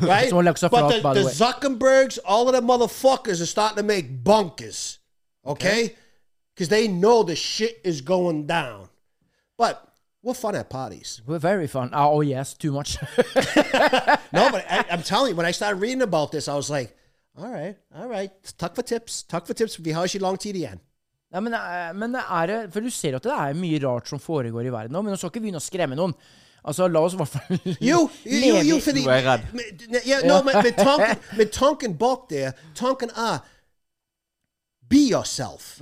right?
Someone looks up for
but
us,
the,
by the
the
way.
Zuckerbergs, all of the motherfuckers are starting to make bunkers, okay? Because they know the shit is going down. But we're fun at parties.
We're very fun. Ah, Oh, yes, too much.
No, but I, I'm telling you, when I started reading about this, I was like, all right, all right, tuck for tips, tuck for tips. Vi har ikke lang tid igjen.
Nei, men, eh, men er det For du ser jo at det er mye rart som foregår i verden nå, men nå skal ikke vi begynne å skremme noen. Altså, la oss i hvert fall
Jo, jo,
leve
jo,
i-
fordi
Nå er jeg redd.
Men- Ja, nå, men, men, tanken, men tanken bak det Tanken er Be yourself.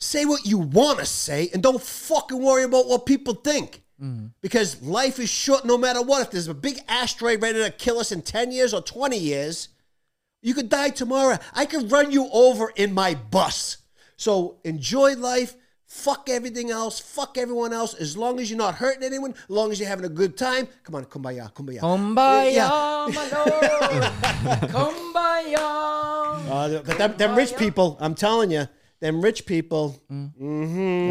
Say what you want to say and don't fucking worry about what people think. Because life is short no matter what. If there's a big asteroid ready to kill us in 10 years or 20 years, you could die tomorrow. I could run you over in my bus. So enjoy life. Fuck everything else. Fuck everyone else. As long as you're not hurting anyone, as long as you're having a good time. Come on, kumbaya, kumbaya.
Kumbaya,
Yeah.
my lord. Kumbaya.
Uh, but them, them rich people, I'm telling you, them rich people.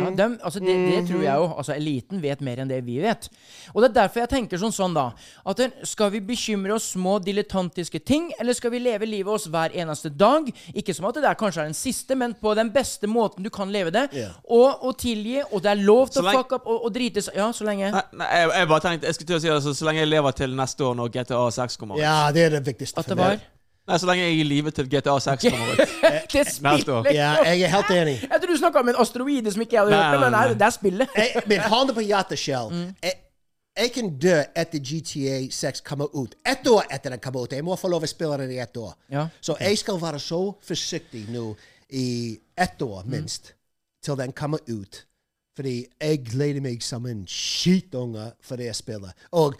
Ja, dem, altså det, det tror jeg jo. Altså Eliten vet mer enn det vi vet. Og det er derfor jeg tenker sånn, sånn da at en- Skal vi bekymre oss små dilettantiske ting, eller skal vi leve livet oss hver eneste dag? Ikke som at det der kanskje er den siste, men på den beste måten du kan leve det.
Ja.
Og, og tilgi, og det er lov til
Så
å
lenge- Eh,
fuck up og, og drite seg Ja, så lenge.
Nei, nei, jeg, jeg bare tenkte Jeg skulle til å si det, så, så lenge jeg lever til neste år når GTA 6 kommer ut.
Ja, det er det viktigste
At det
meg.
var
Nei, så lenge jeg er i live til GTA 6 kommer ut.
Det
Neste år.
spillet!
Ja, jeg er helt enig.
Jeg trodde du snakka om en asteroide som ikke jeg hadde
Nei,
hørt om, men
nei,
nei,
nei.
det er spillet.
Jeg, men hånd på hjerteskjell. Jeg, jeg kan dø etter GTA 6 kommer ut. Ett år etter den kommer ut. Jeg må få lov å spille den i ett år.
Ja.
Så jeg skal være så forsiktig nå i ett år, minst, til den kommer ut. Fordi jeg gleder meg som en skitunge for det spillet. Og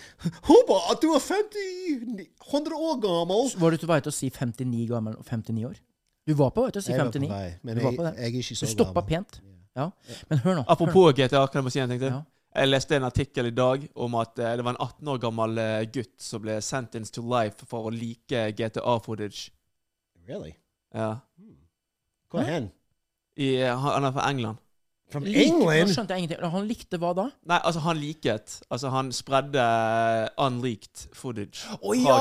håper at du er 50 100 år gammel.
Var du på vei til å si 59 gammel og 59 år? Du var på vei til å si
Jeg var på
59.
vei, men
Du
jeg-
var på det.
jeg er ikke så
Du stoppa
gammel.
pent. Ja. Men hør nå. hør nå.
Apropos GTA, kan jeg bare si en ting til?
Ja.
Jeg leste en artikkel i dag om at eh, det var en 18 år gammel eh, gutt som ble sentenced to life for å like GTA-footage.
Really?
Ja.
Go ahead.
I, eh, han han er fra England.
From
Like- Nå
England?
skjønte jeg ingenting. Han likte hva da?
Nei, altså, han liket. Altså, han spredde unleaked footage
Å ja!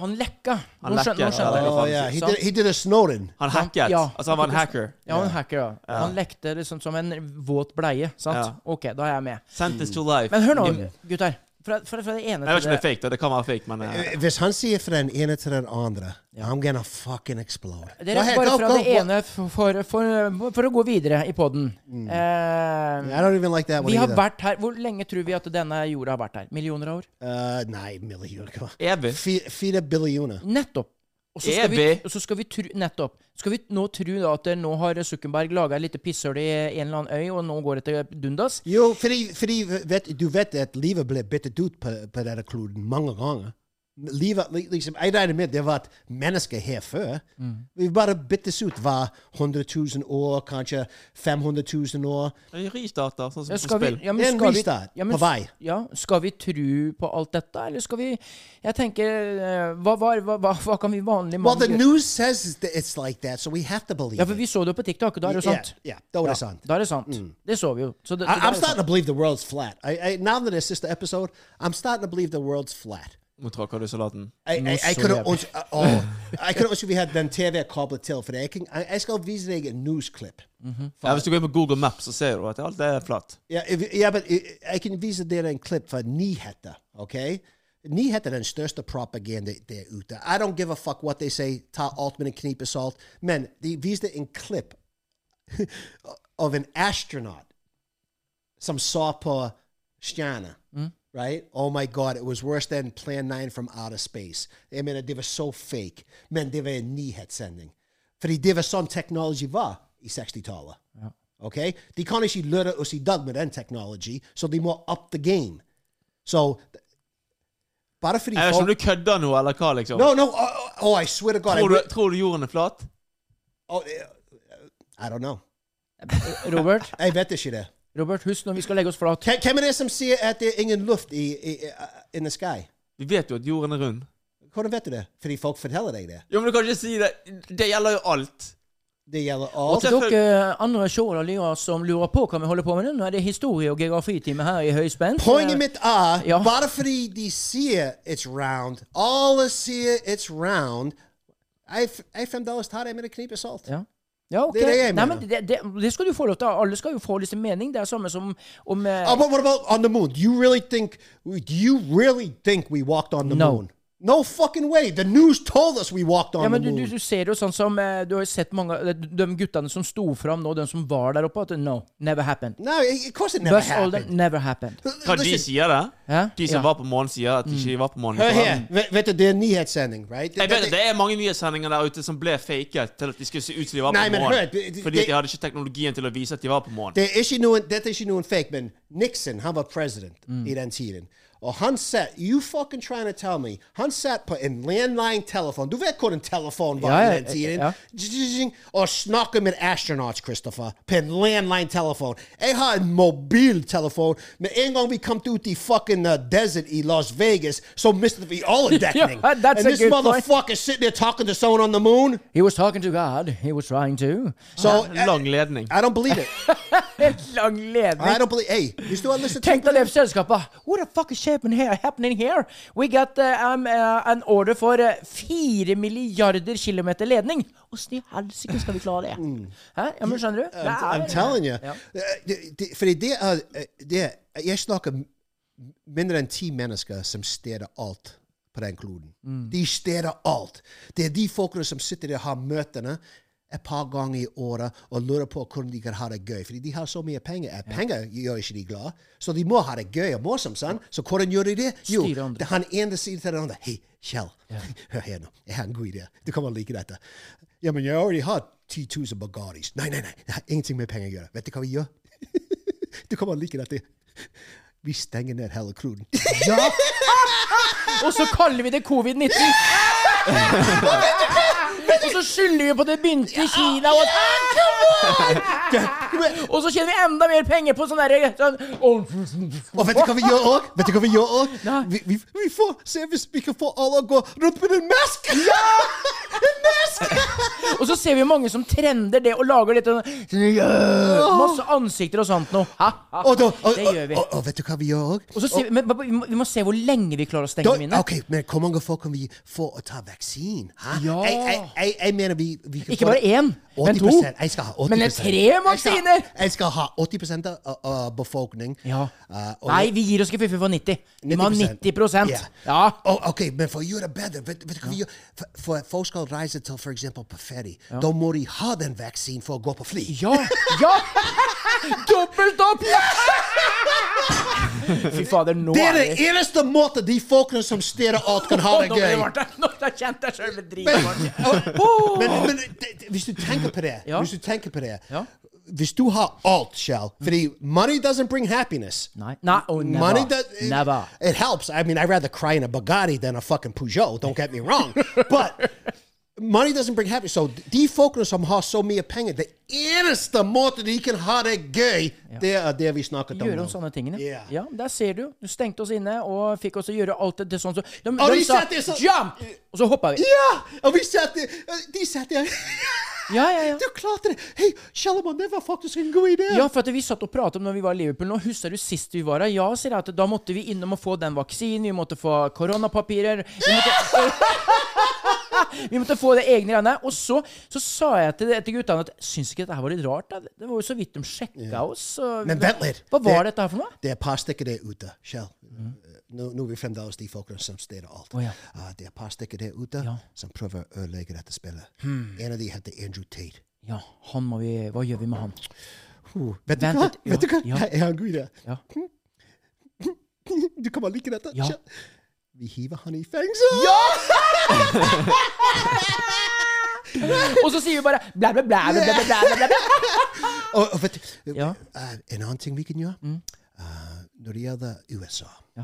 Han lekka.
Han
Nå skjønte
lekka,
nå skjønte jeg.
ja,
Oh,
det
yeah. He
Sant?
did, he did a Snowden.
Han
Sant,
hacket.
ja.
Altså, han var en hacker.
Ja, han hacker, da. Han lekte liksom som en våt bleie. Sant?
Ja.
OK, da er jeg med.
Sentenced to life.
Men hør nå,
I-
gutter. Fra, fra, fra det ene
Jeg vet ikke om det er fake, da. det kan være fake, men
Uh,
eh,
Hvis han sier fra den ene til den andre, I'm gonna fucking explode.
Det er bare fra det ene for, for, for, for å gå videre i poden.
Mm. I don't even like that one
vi har
either.
vært her Hvor lenge tror vi at denne jorda har vært her? Millioner av år?
Uh, nei, millioner. Kom on.
evig.
Fi- Fire billioner.
Nettopp. Og så skal, vi,
Evig.
og så skal vi tru, nettopp. Skal vi nå tro da at eh, nå har Zuckerberg laga et lite pisshøl i en eller annen øy, og nå går det til dundas?
Jo, fordi, fordi vet, du vet at livet ble byttet ut på, på denne kloden mange ganger. Livet, li- liksom, jeg regner med det var et menneske her før.
Mm.
Vi bare byttes ut hver 100 000 år, kanskje 500 000 år.
En Restarter, sånn som
Ja,
på
skal vi,
spill.
ja,
Det er
men
en
skal vi,
restart
ja, men,
på vei.
Ja, skal vi tro på alt dette, eller skal vi Jeg tenker eh, Hva, hva, hva, hva, hva kan vi vanlige
Well, the
mann gjøre?
news says is that it's like that, so we have to believe
Ja, for
it.
vi så det jo på TikTok, og da er det jo
Yeah,
sant.
yeah, da var det sant.
Da er det sant. Det så vi jo. Så det, så
I,
da er det
I'm starting
sant.
to believe the world's flat. I, I, now that it's just the episode, I'm starting to believe the world's flat.
Nå tråkker du salaten.
I, I, I
så
could have
jævlig.
ønsket, åh, oh, I could have ønsket vi hadde den TV-koblet til, for jeg, kan, jeg, jeg skal vise deg en newsklipp.
Ja, hvis du går inn på Google Maps, så ser du at alt er flatt.
Ja, if- ja, men jeg- jeg kan vise dere en klipp fra nyheter, ok? Nyheter er den største propaganda der ute. I don't give a fuck what they say, ta alt med en knipe salt, men de viste en klipp av en astronaut som så på stjerner. Right? Oh my God, it was worse than Plan 9 from outer space. I mean, det var så fake, men det var en nyhetssending. Fordi det var sånn teknologi var i 60-tallet. Okay? De kan ikke lure oss i dag med den teknologi, så de må up the game. Så bare fordi
Jeg vet ikke om du kødder nå, eller hva, liksom.
No, no, oh, oh, I swear to God. I,
Tror du,
re-
tror du jorden er flat?
oh, eh, I don't know.
Robert,
Jeg vet ikke det.
Robert, husk når vi skal legge oss flat.
Hvem- Hvem er det som sier at det er ingen luft i, i, i, uh, in the sky?
Vi vet jo at jorden er rund.
Hvordan vet du det? Fordi folk forteller deg det.
Jo, men du kan ikke si det. Det gjelder jo alt.
Det gjelder
Og
alt.
What's
til dere andre seere og lyttere som lurer på hva vi holder på med nå, nå er det historie- og geografitime her i Eh, høyspent.
Poenget mitt er,
Ja.
bare fordi de sier it's round, alle sier it's round, jeg f- jeg fremdeles tar det med en knipe salt.
Ja. Ja, ok.
Det er det jeg
Nei,
mener.
men det, det, det skal du få lov til. Alle skal jo få liksom mening. Det er samme som om eh,
Oh, but what about on the moon? Do you really think? Do you really think we walked on the
No.
moon? No fucking way. The news told us we walked on
ja, men
the
du,
moon.
du, du ser jo sånn som eh, Du har jo sett mange av de- de guttene som sto fram nå, de som var der oppe, at no, never happened.
no, of course it never
Buzz Aldrin,
happened.
never happened.
Hva de sier det?
Hæ?
De som
Ja.
var på månen, sier at de ikke var på månen.
Hør her. Vet- Vet du, det er en nyhetssending, right?
Jeg vet at Det er mange nyhetssendinger der ute som ble faket til at de skulle se ut som de var på
Nei, men hør,
månen.
det- det-
Fordi at de hadde ikke teknologien til å vise at de var på månen.
Det er ikke noen, dette er ikke noen fake, men Nixon, han var president
Mm.
i den tiden. Og han satt, you fucking trying to tell me, han satt på en landline-telefon. Du vet hvor en telefon var
Ja, ja,
i den tiden.
ja.
Zzzz, Og snakket med astronauts, Christopher, på en landline-telefon. Jeg har en mobiltelefon, men en gang vi kom ut i fucking uh, desert i Las Vegas, så mistet vi all dekning.
Ja, that's
And
a
this
good point.
motherfucker sitting there talking to someone on the moon.
He was talking to God. He was trying to.
So,
Uh,
I,
Lang ledning.
I don't believe it.
Lang
I
ledning.
don't believe, hey, hvis du har lyst til å
Tenk deg det selskapet. What the fuck is happening here? Happening here? We got uh, um, uh, an order for uh, fire milliarder kilometer ledning. Åssen i helsike skal vi klare det? Hæ? Ja, men skjønner du? Det
Mm. I'm, I'm
er-
telling you.
Ja.
Eh, det- det- Fordi det er eh, det er- Jeg snakker m- mindre enn ti mennesker som steder alt på den kloden.
Mm.
De steder alt. Det er de folkene som sitter der og har møtene et par ganger i året og lurer på hvordan de kan ha det gøy. Fordi de har så mye penger. Eh, Penger gjør ikke de glad. Så de må ha det gøy og morsomt. sant? Så hvordan gjør de det? Jo,
Styre andre.
det- han ene sier til den andre Hei, Kjell, hør her nå. Jeg har en god idé. Du kommer å like dette. Ja, men jeg har allerede hatt 10 000 Bugattis. Nei, nei, nei. Det har ingenting med penger å gjøre. Vet du hva vi gjør? du kommer å like dette. Vi stenger ned hele kloden. ja!
Og så kaller vi det covid-19. Og så skylder vi på at det begynte i Kina. Og, og så tjener vi enda mer penger på sånn derre sånn,
Og vet du hva vi gjør òg? Vet du hva vi gjør òg? Vi, vi, vi får se hvis vi kan få alle å gå rundt med en maske! Ja! en maske!
Og så ser vi jo mange som trender det og lager litt sånn ja, Masse ansikter og sånt noe. Ha, ha,
Og da, og,
det gjør vi.
Og, og, vet du hva vi gjør òg?
Og så ser vi, men, vi, må, vi må se hvor lenge vi klarer å stenge mine.
OK, men hvor mange folk kan vi få å ta vaksinen? hæ?
Ja.
Jeg, jeg, jeg, jeg mener vi, vi kan
Ikke
få-
bare én, men to.
80%. Jeg skal ha 80
Men det er tre vaksiner!
Jeg skal, jeg skal ha 80 av, av befolkningen.
Ja.
Eh, og-
Nei, vi gir oss ikke fiffi for 90. Vi må ha 90
Ja.
Ja.
Og- ok, men for å gjøre det bedre vet, vet du hva vi gjør? For, for at Folk skal reise til for eksempel på ferie. Da må de ha den vaksinen for å gå på fly.
Ja! ja. Dobbelt opp! Fy fader, nå
Det er
er
den
vi
eneste måten de folkene som styrer alt, kan ha
Å,
det
Nå ble
gøy.
det varmt her. Nå har jeg kjent deg sjøl med
Men,
dritvarmt.
og- men, men det- det- hvis du tenker på det
Ja.
Hvis du tenker på det
Ja.
Hvis du har alt, Shell Fordi money doesn't bring happiness.
Nei. Nei, oh, never.
Money does it,
never.
It helps. I mean, I'd rather cry in a Bugatti than a fucking Peugeot. Don't get me wrong. but money doesn't bring happiness. So de folkene som har så mye penger, det eneste måten de kan ha det gøy, det er det vi snakket om
Gjøre om
nå.
sånne tingene.
Ja.
Ja, der ser du. Du stengte oss inne og fikk oss til å gjøre alt det, det sånn som de,
Og
de
de
sa
satt i sånn-
Jump! Og så hoppa vi.
Ja! Og vi satt der. De satt der.
Ja, ja, ja.
Du klarte det! Hei, Shalomon, det var faktisk en god idé.
Ja, for at vi satt og pratet om når vi var i Liverpool nå. Husker du sist vi var her? Ja, sier jeg at da måtte vi innom og få den vaksinen. Vi måtte få koronapapirer. Vi måtte, vi måtte få det egne greiene. Og så, så sa jeg til, til guttene at syns ikke dette her var litt rart? Da? Det var jo så vidt de sjekka oss. så-
Men vent litt.
Hva var
Det-
dette her for noe?
Det er et par stykker der ute, Kjell. Nå, nå er vi fremdeles de folkene som styrer alt.
Mm. Å, ja.
Ah, det er et par stykker der ute som prøver å ødelegge dette spillet.
Hmm.
En av de heter Andrew Tate.
Ja, han må vi Hva gjør vi med han?
Puh, vet, du
Vent
hva?
litt, ja,
vet du hva?
ja.
Jeg har en god idé.
Ja.
Du kommer like dette.
Ja.
Kjell. Vi hiver han i fengsel!
Og så sier vi bare blæ, blæ, blæ, blæ, blæ, blæ, blæ, blæ, blæ.
Og, og vet, du,
Ja. Mm.
eh, en annen ting vi kan gjøre, eh, når det gjelder USA
Ja.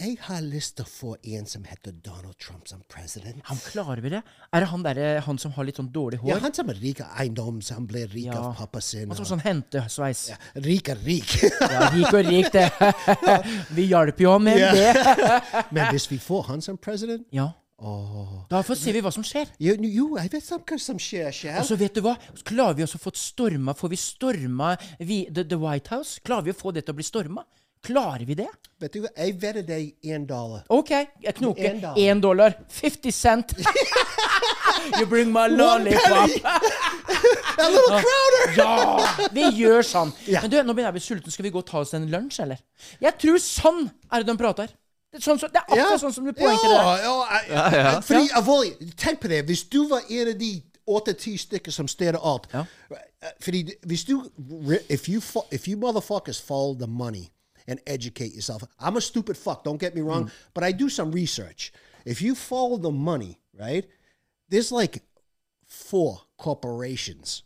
Jeg har lyst til å få en som heter Donald Trump som president.
Han klarer vi det? Er det han, der, han som har litt sånn dårlig hår?
Ja, han som er rik av eiendom, så han ble rik
Ja.
av pappa sin.
Han som har
og-
sånn hentesveis.
Rik er rik.
Ja, rik og rik, det. Vi hjalp jo med det.
Men hvis vi får han som president
Ja. Da får ser vi hva som skjer.
Jo, jo jeg vet som- hva som skjer, skjer.
Og så vet du hva? Klarer vi også å få storma Får vi storma vi, the, the White House? Klarer vi å få det til å bli storma? Klarer vi det?
vet du, hva? jeg vedder deg én dollar.
OK, jeg knoker.
En dollar.
Én dollar. 50 cent. You bring my
penny!
lollipop.
A little crowder!
Ja! Vi gjør sånn.
Ja.
Men du, nå begynner jeg å bli sulten. Skal vi gå og ta oss en lunsj, eller? Jeg tror sånn er det de prater. Det er, sånn, som- det er akkurat sånn som du poengterer.
Ja, ja, jeg- jeg- Fordi, alvorlig, tenk på det. Hvis du var en av de åtte-ti stykker som steder alt
Ja.
eh, Fordi hvis du if you, fo- if you motherfuckers follow the money and educate yourself I'm a stupid fuck, don't get me wrong,
Mm.
but I do some research. If you follow the money, right, there's like four corporations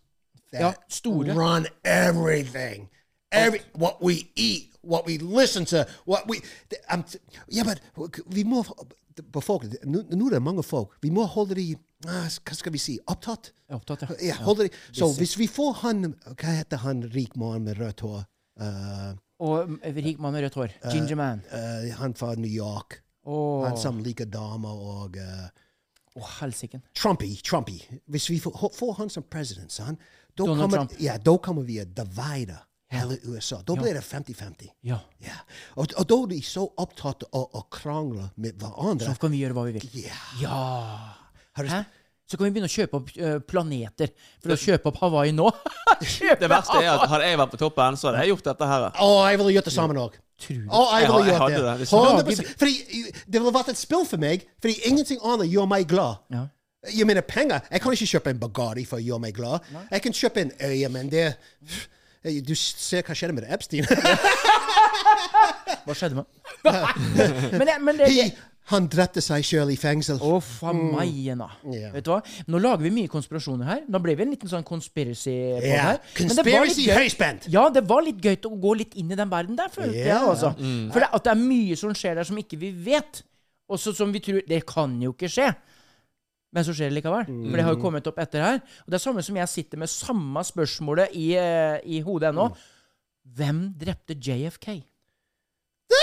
that
Ja, store.
run everything. Every what we eat, what we listen to, what we th- I'm t- yeah, but vi må before nu nu er det mange folk. Vi må holde de ah, hva skal vi si opptatt.
Ja, opptatt, ja. Ja,
ja holde de. Så hvis vi får han hva heter han rik mann med rødt hår? Eh,
Og mm, rik mann med rødt hår. Ginger man.
eh, han fra New York.
Åh.
Han som liker damer og eh,
Å, helsike.
Trumpy, Trumpy. Hvis vi får, ho- får han som president, son, da
Donald
kommer,
Trump.
ja, da kommer vi å divide hele USA. Da blir det 50-50.
Ja.
Ja. Og, og da er de så opptatt av å krangle med hverandre.
Så kan vi gjøre hva vi vil.
Ja.
Ja.
Har du-
Hæ? Så kan vi begynne å kjøpe opp eh, planeter. For å kjøpe opp Hawaii nå Kjøpe
Det verste er at hadde jeg vært på toppen, så hadde jeg gjort dette her.
Å, jeg ville gjort det sammen òg.
Utrolig.
Å, jeg ville
Oh,
Jeg
gjort
hadde
det.
det, hvis-
100%. Fordi det ville vært et spill for meg, fordi ingenting annet gjør meg glad.
Ja.
Jeg mener penger. Jeg kan ikke kjøpe en Bugatti for å gjøre meg glad. Jeg kan kjøpe en øye, men det Du ser hva skjedde med Epstein.
Hva skjedde med Men, det- men det, det
He- Han drepte seg sjøl i fengsel.
Å, faen meg igjen, da.
Mm. Ja.
Vet du hva? Nå lager vi mye konspirasjoner her. Nå ble vi en liten sånn conspiracy på
Ja.
her. Men det var litt
Conspiracy
gøy-
høyspent!
Ja, det var litt gøy å gå litt inn i den verden der, følte
Ja.
jeg. altså. For det, at det er mye som skjer der som ikke vi vet. Og så som vi tror Det kan jo ikke skje. Men så skjer det likevel. For det har jo kommet opp etter her. Og det er samme som jeg sitter med samme spørsmålet i, eh, i hodet ennå. Hvem drepte JFK?
Hvem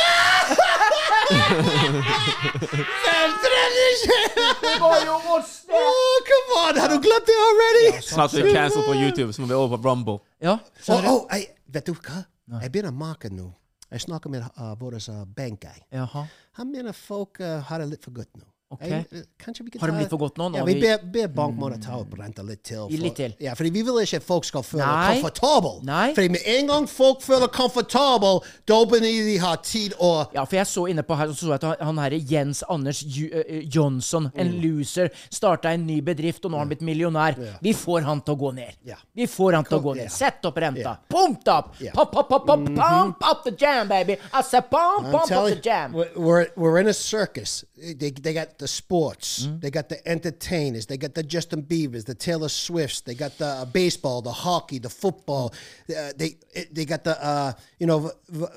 drepte seg?
Det var jo oss,
Å, Come God, har du glemt det already?
Snart vi cancel på YouTube, så må vi over på Rumble.
Ja,
Oh,
skjønner du?
oh, jeg, vet du hva? Jeg begynner å make nå. Jeg snakker med uh, vår uh, bankguy.
Jaha.
Han mener folk uh, har det litt for godt nå.
Ok.
Jeg, eh, kanskje vi kan
Har de
ta-
litt for godt nå, nå
Ja,
har
vi
vi-
ber, ber bankmannen ta opp renta litt til.
I litt til.
Ja, fordi vi vil ikke at folk skal føle
Nei.
komfortabel.
Nei.
Fordi med en gang folk føler komfortabel, da begynner de ha tid å
Ja, for jeg så inne på her, så så jeg at han- han herre Jens Anders Ju- eh, eh, Johnson, en
Mm.
loser, starta en ny bedrift, og nå har han blitt millionær. Vi får han til å gå ned.
Ja.
Vi får han til å
Kom-
gå ned.
ja.
Sett opp renta.
Ja.
Pump up!
Ja. Mhm.
Pump, pump, pump, pump, pump up the jam, baby! I said pump,
I'm
pump up
telling-
the jam.
We're, we're, we're in a circus. They, they got the sports.
Hmm?
They got the entertainers. They got the Justin Biebers, the Taylor Swifts. They got the uh, baseball, the hockey, the football. Uh, they it- they got the uh, you know, v- v-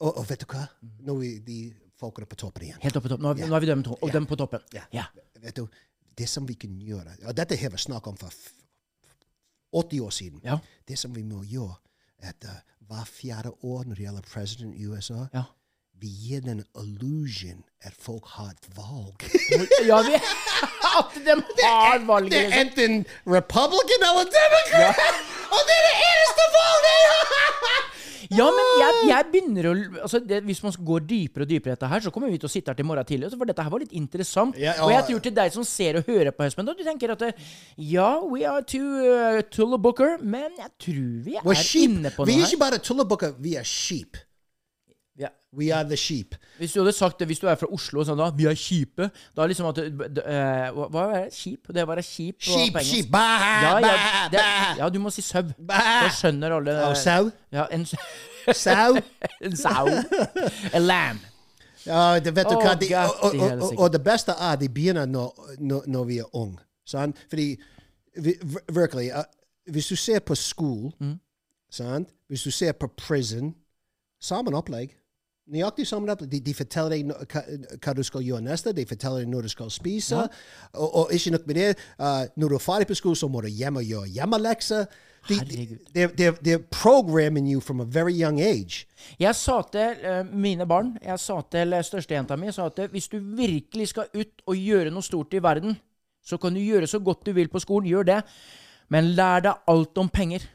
oh, oh, vet du hva?
Hmm.
Nå er de folkene på toppen igjen.
Helt oppe på toppen. Nå, har vi- nå har vi dem, to og dem på toppen.
Ja.
Ja.
Vet du, det som vi kan gjøre, og dette har vi snakket om for f- 80 år siden,
Ja.
det som vi må gjøre, at uh, hver fjerde år når det gjelder president i USA,
Ja.
vi gir den illusion at folk har et valg.
ja, vi At dem har valget!
det er
liksom.
enten Republican eller Democrat! Og det er det eneste valget jeg har!
Ja, men jeg, jeg begynner å altså det, Hvis man går dypere og dypere i dette her, så kommer vi til å sitte her til morgen tidlig. altså, For dette her var litt interessant.
Ja, ja.
Og jeg tror til deg som ser og hører på Hespen, og du tenker at eh, ja, we are too uh, tulle booker, men jeg tror vi
We're
er
sheep.
inne på
Vi
noe
er ikke
her.
bare tullebukker, vi er sheep.
Ja.
We are the sheep.
Hvis du hadde sagt det, hvis du er fra Oslo og sånn da, vi er kjipe, da liksom at du- d- eh, Hva hva er det? Kjip? Det å være kjip på
Sheep,
engelsk.
sheep, bah,
Ja, ja,
bah,
det,
bah. Oh,
ja, du må si sau. Da
Bah.
skjønner alle
Og sau?
Ja, en,
Sau?
en sau. A lamb.
Ja, det vet du
Å,
hva. De,
gatt
og,
i
og, og,
helsike.
og det beste er de begynner når, når, når vi er unge. Sant? Fordi vi, vir- virkelig, eh, hvis du ser på skole, sant? hvis du ser på prison, samme opplegg. Nøyaktig samme opplegg. De, de forteller deg nå- hva, hva du skal gjøre neste, de forteller deg når du skal spise. Og, og ikke nok med det, eh, når du er ferdig på skolen, så må du hjem og gjøre hjemmelekser. De, de,
Herregud.
they're, they're, they're programming you from a very young age.
Jeg sa til eh, mine barn, jeg sa til eh, størstejenta mi, jeg sa at hvis du virkelig skal ut og gjøre noe stort i verden, så kan du gjøre så godt du vil på skolen, gjør det, men lær deg alt om penger.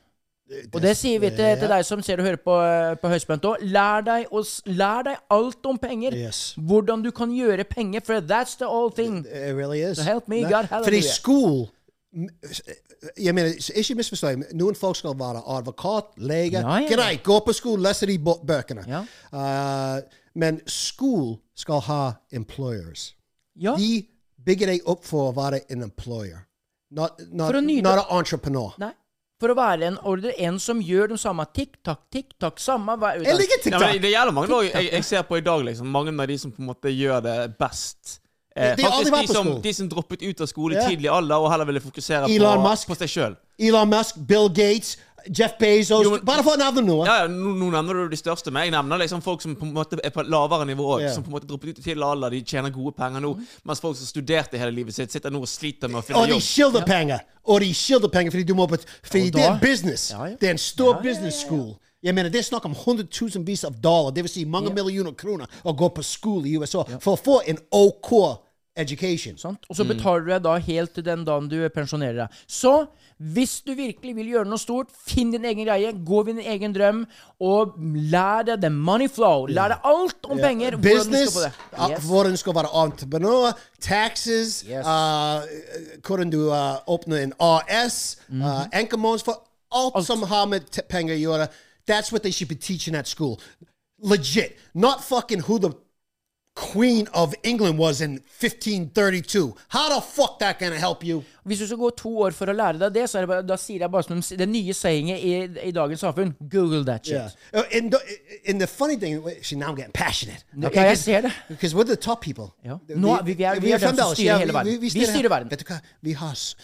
Og det sier vi til, til deg som ser og hører på, eh, på høyspent òg. Lær, deg å s- lær deg alt om penger.
Yes.
Hvordan du kan gjøre penger, for that's the all thing.
It really is.
So help me,
Nei,
God,
Fordi
hallelujah.
skole jeg mener, Ikke misforstå meg. Noen folk skal være advokat, lege.
Ja, ja, ja.
Greit, gå på skole, lese de bo- bøkene.
Ja.
Eh, men skole skal ha employers.
Ja,
De bygger deg opp for å være en employer. Not, not,
For å nyte-
not an entrepreneur.
nei. For å være en ordre, en som gjør de samme tikk-takk, tikk-takk, samme hver
Jeg liker
Ja,
TikTok!
men det- det gjelder mange også. jeg, jeg ser på i dag, liksom. Mange av de som på en måte gjør det best. Eh,
De- de har aldri
faktisk
vært
de
på
som,
skolen.
de som droppet ut av skole i
Ja.
tidlig alder og heller ville fokusere
Elon
på,
Musk.
på seg sjøl.
Elon Musk, Bill Gates, Jeff Bezos
Jo, men-
Bare for å nevne noe.
Ja, ja, nå, nå nevner du de største, men jeg nevner liksom folk som på en måte er på et lavere nivå òg.
Ja.
Som på en måte droppet ut i tidlig alder, de tjener gode penger nå. Mens folk som studerte hele livet sitt, sitter nå og sliter med å finne
Og de
jobb.
skylder penger. Og de skylder penger fordi du må på Fordi
Og
det er
da-
business.
Ja, ja.
Det er en stor business school. Jeg mener, Det er snakk om hundretusenvis av dollar, dvs. Si mange millioner kroner, å gå på skole i USA for å få en OK education.
Sant? Og så betaler du deg da helt til den dagen du pensjonerer deg. Så hvis du virkelig vil gjøre noe stort, finn din egen greie, gå ved din egen drøm, og lær deg the money flow. Lær deg alt om penger. hvordan du skal
Business,
få det.
uh,
Yes.
hvordan du skal være entreprenør, taxes,
Yes.
uh, hvordan du uh, åpner en AS,
Mm-hmm.
uh, enkeltmåneds for alt, som har med t- penger å gjøre. That's what they should be teaching at school. Legit. Not fucking who the queen of England was in 1532. How the fuck that gonna help you?
Hvis du skal gå to år for å lære deg det, så er det bare, da sier jeg bare som de- det nye sayinget i, i dagens samfunn Google that shit.
Uh, And the, and the funny thing, see, now I'm getting passionate.
No, yeah, I see it.
Because we're the top people.
Ja.
The-
Nå er vi- vi er- vi er dem som
fremdeles-
styrer hele verden. Vi styrer verden.
Vet du hva? Vi har, s-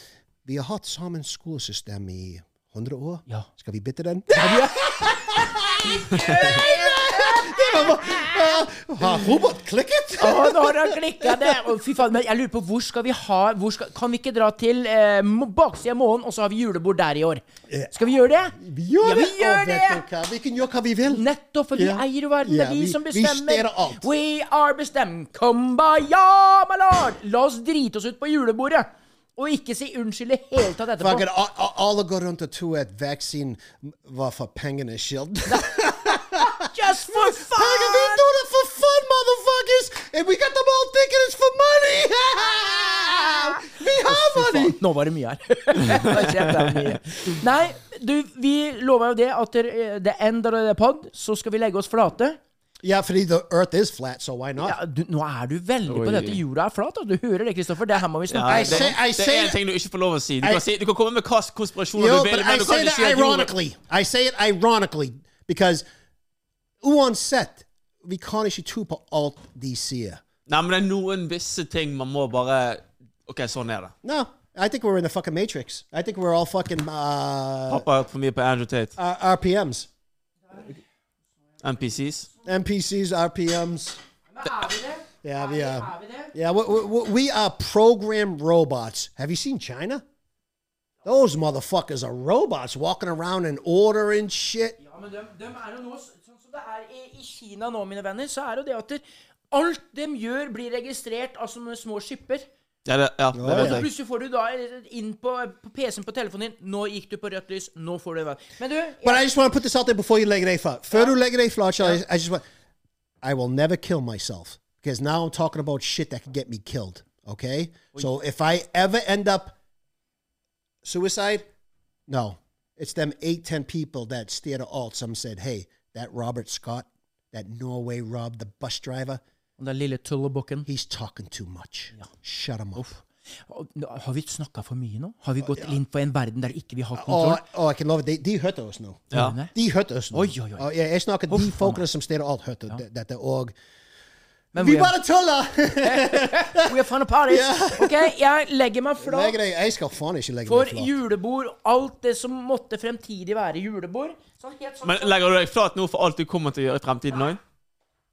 vi har hatt sammen skolesystem i 100 år.
Ja.
Skal vi bytte den? Det var bare- uh, Har Robert klikket?
Å, nå har han klikka det! Å, fy faen, men jeg lurer på hvor skal vi ha hvor skal, Kan vi ikke dra til eh, mo- baksida av månen, og så har vi julebord der i år? Skal vi gjøre det?
Vi gjør
ja, vi
det! Å,
Gjør det!
vet du hva? Vi kan gjøre hva vi vil.
Nettopp, for vi
Ja.
eier jo verden.
Ja,
det er vi,
vi-
som
vi
bestemmer.
styrer alt.
We are bestemmer. Kumbaya, my lord! La oss drite oss ut på julebordet. Og ikke si unnskyld i hele tatt etterpå.
Fucking, a- a- alle går rundt og tror at vaksinen var for pengenes skyld.
Just for
Fucking, we
fun!
do it for fun, motherfuckers! And we got them all thinking it's for money! we have money!
Faen, nå var det mye her. Nå kjente jeg mye. Nei, du, vi lover jo det at der, eh, the end of the pod, så skal vi legge oss flate.
Yeah, fordi the earth is flat, so why not?
Ja, du, nå er du veldig på
Oi.
dette. Jorda er flat, og du hører det, Kristoffer. Det her må vi
Ja,
snakke om.
I say- I
det, det
say-
er en ting du ikke får lov å si. Du kan,
I-
si, du kan komme med hva konspirasjoner
Yo,
du vil,
but I
men du kan
say
ikke
that
si at jorda-
ironically. I say it ironically because uansett, vi kan ikke tro på alt de sier.
Nei, men det er noen visse ting man må bare OK, sånn er det.
No, I think we're in the fucking matrix. I think we're all fucking uh,
Pappa har hørt for mye på Andrew Tate.
uh, RPMs.
MPCs.
MPCs, RPMs.
Er vi det?
Yeah, we are.
vi det?
Yeah, we, we, we are programmed robots. Have you seen China? Those motherfuckers are robots walking around and ordering shit.
Ja, men de, de er jo nå, sånn som det er i, i Kina nå, mine venner, så er jo det at det- alt de gjør, blir registrert av sånne små skipper.
Ja, det, ja, det
Så
vet jeg.
plutselig får du da eh, inn på, på PC-en på telefonen din 'Nå gikk du på rødt lys. Nå får du en venn'. Men du,
But I just want to put this out there before you leg it a flat. Further leg it a flat, shall I, I just want. I will never kill myself because now I'm talking about shit that could get me killed. Okay, so if I ever end up suicide, no, it's them eight ten people that steered the alt. Some said, "Hey, that Robert Scott, that Norway Rob, the bus driver,
Den lille tullebukken.
he's talking too much. Shut him up."
Har vi snakka for mye nå? Har vi gått inn på en verden der ikke vi har kontroll?
Oh, oh, I can love it. They, they hurt us now.
Ja.
Nei.
De hørte oss nå.
Oi, oi, oi.
Og jeg, jeg snakker
Uff,
de
faen
folkene
meg.
som stedet alt hørte det- dette. Og
Men
Vi
hvor er-
bare tuller!
We are fun apart. Ok, jeg legger meg
Nei,
flat
grei, jeg skal faen ikke legge
for
meg flat.
julebord. Alt det som måtte fremtidig være julebord. Sånn helt sånn.
Men legger du deg flat nå for alt du kommer til å gjøre i fremtiden òg?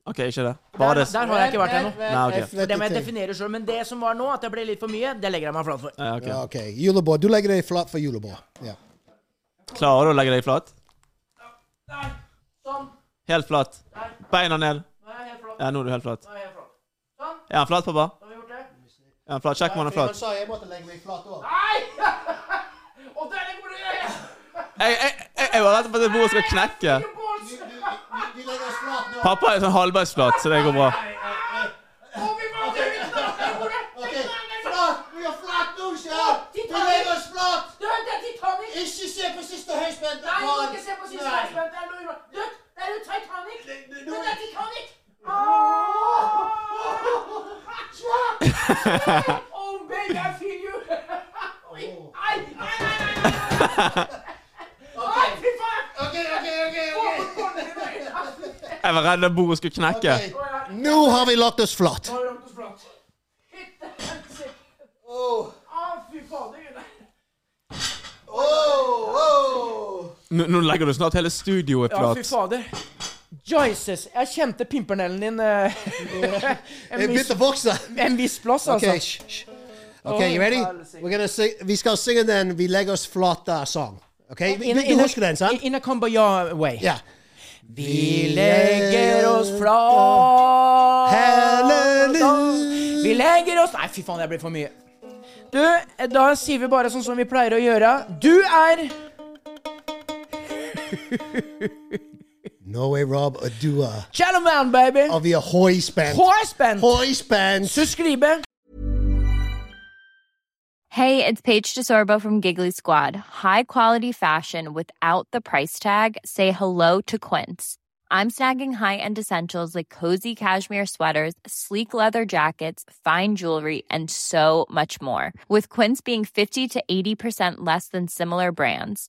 OK, ikke det?
Der,
Bare det.
der har jeg ikke vært ennå.
Nei, ok.
Det må jeg definere sjøl. Men det som var nå, at det ble litt for mye, det legger jeg meg flat for.
Ja, ok.
Ok, julebord. Du legger deg flat for julebord. Ja.
Klarer du å legge deg flat?
Der. Sånn.
Helt flat. Beina ned.
Nå er jeg helt flat.
Ja, nå er du helt flat.
Nå er jeg helt flat. Sånn.
Er han flat, pappa?
Da har vi gjort det.
Er han flat? Sjekk om han er flat.
sa jeg måtte legge meg flat òg.
Nei! Og der er hvor det er!
Jeg, jeg, jeg, jeg var redd for at bordet skal knekke.
Bås!
Vi legger oss flat nå.
Pappa er sånn halvveis flat, så det går bra.
Og vi må til utenlandet!
Flat! Vi er flat nå, kjære!
Vi legger oss
flat!
Du, det er Titanic!
Ikke se på siste høyspente!
Nei, du må ikke se på siste avspenn. Det er noe ulo- Du, det er jo Titanic! Men det er Titanic! Åh! Oh, baby, I feel you! Oi, Nei, nei, nei, nei, nei! Nei, fy faen!
Ok, ok, ok, ok.
Jeg var redd at bordet skulle knekke.
Nå har vi lagt oss flat.
Har vi lagt oss flat? Hytte helsike! Å, fy fader!
Nå, nå legger du snart hele studioet
Ja, fy
flat.
fader. Jesus, jeg kjente pimpernellen din eh,
Jeg begynte å vokse.
en viss plass, altså.
Okay, shh, shh. Okay, you ready? We're gonna sing. Vi skal synge den Vi legger oss flat uh, song. Okay? Vi,
In a-
vi,
in
du
a-
husker den, sant?
In a kumbaya way.
Ja.
Vi legger oss flat.
Halleluja.
Vi legger oss Nei, fy faen, det blir for mye. Du, eh, da sier vi bare sånn som vi pleier å gjøre. Du er
Norway Rob Adua.
Gentleman, baby.
Av vi er høyspent.
Hårspent.
Høyspent.
Subscribe.
Hey, it's Paige DeSorbo from Giggly Squad. High quality fashion without the price tag. Say hello to Quince. I'm snagging high-end essentials like cozy cashmere sweaters, sleek leather jackets, fine jewelry, and so much more. With Quince being 50 to 80% less than similar brands.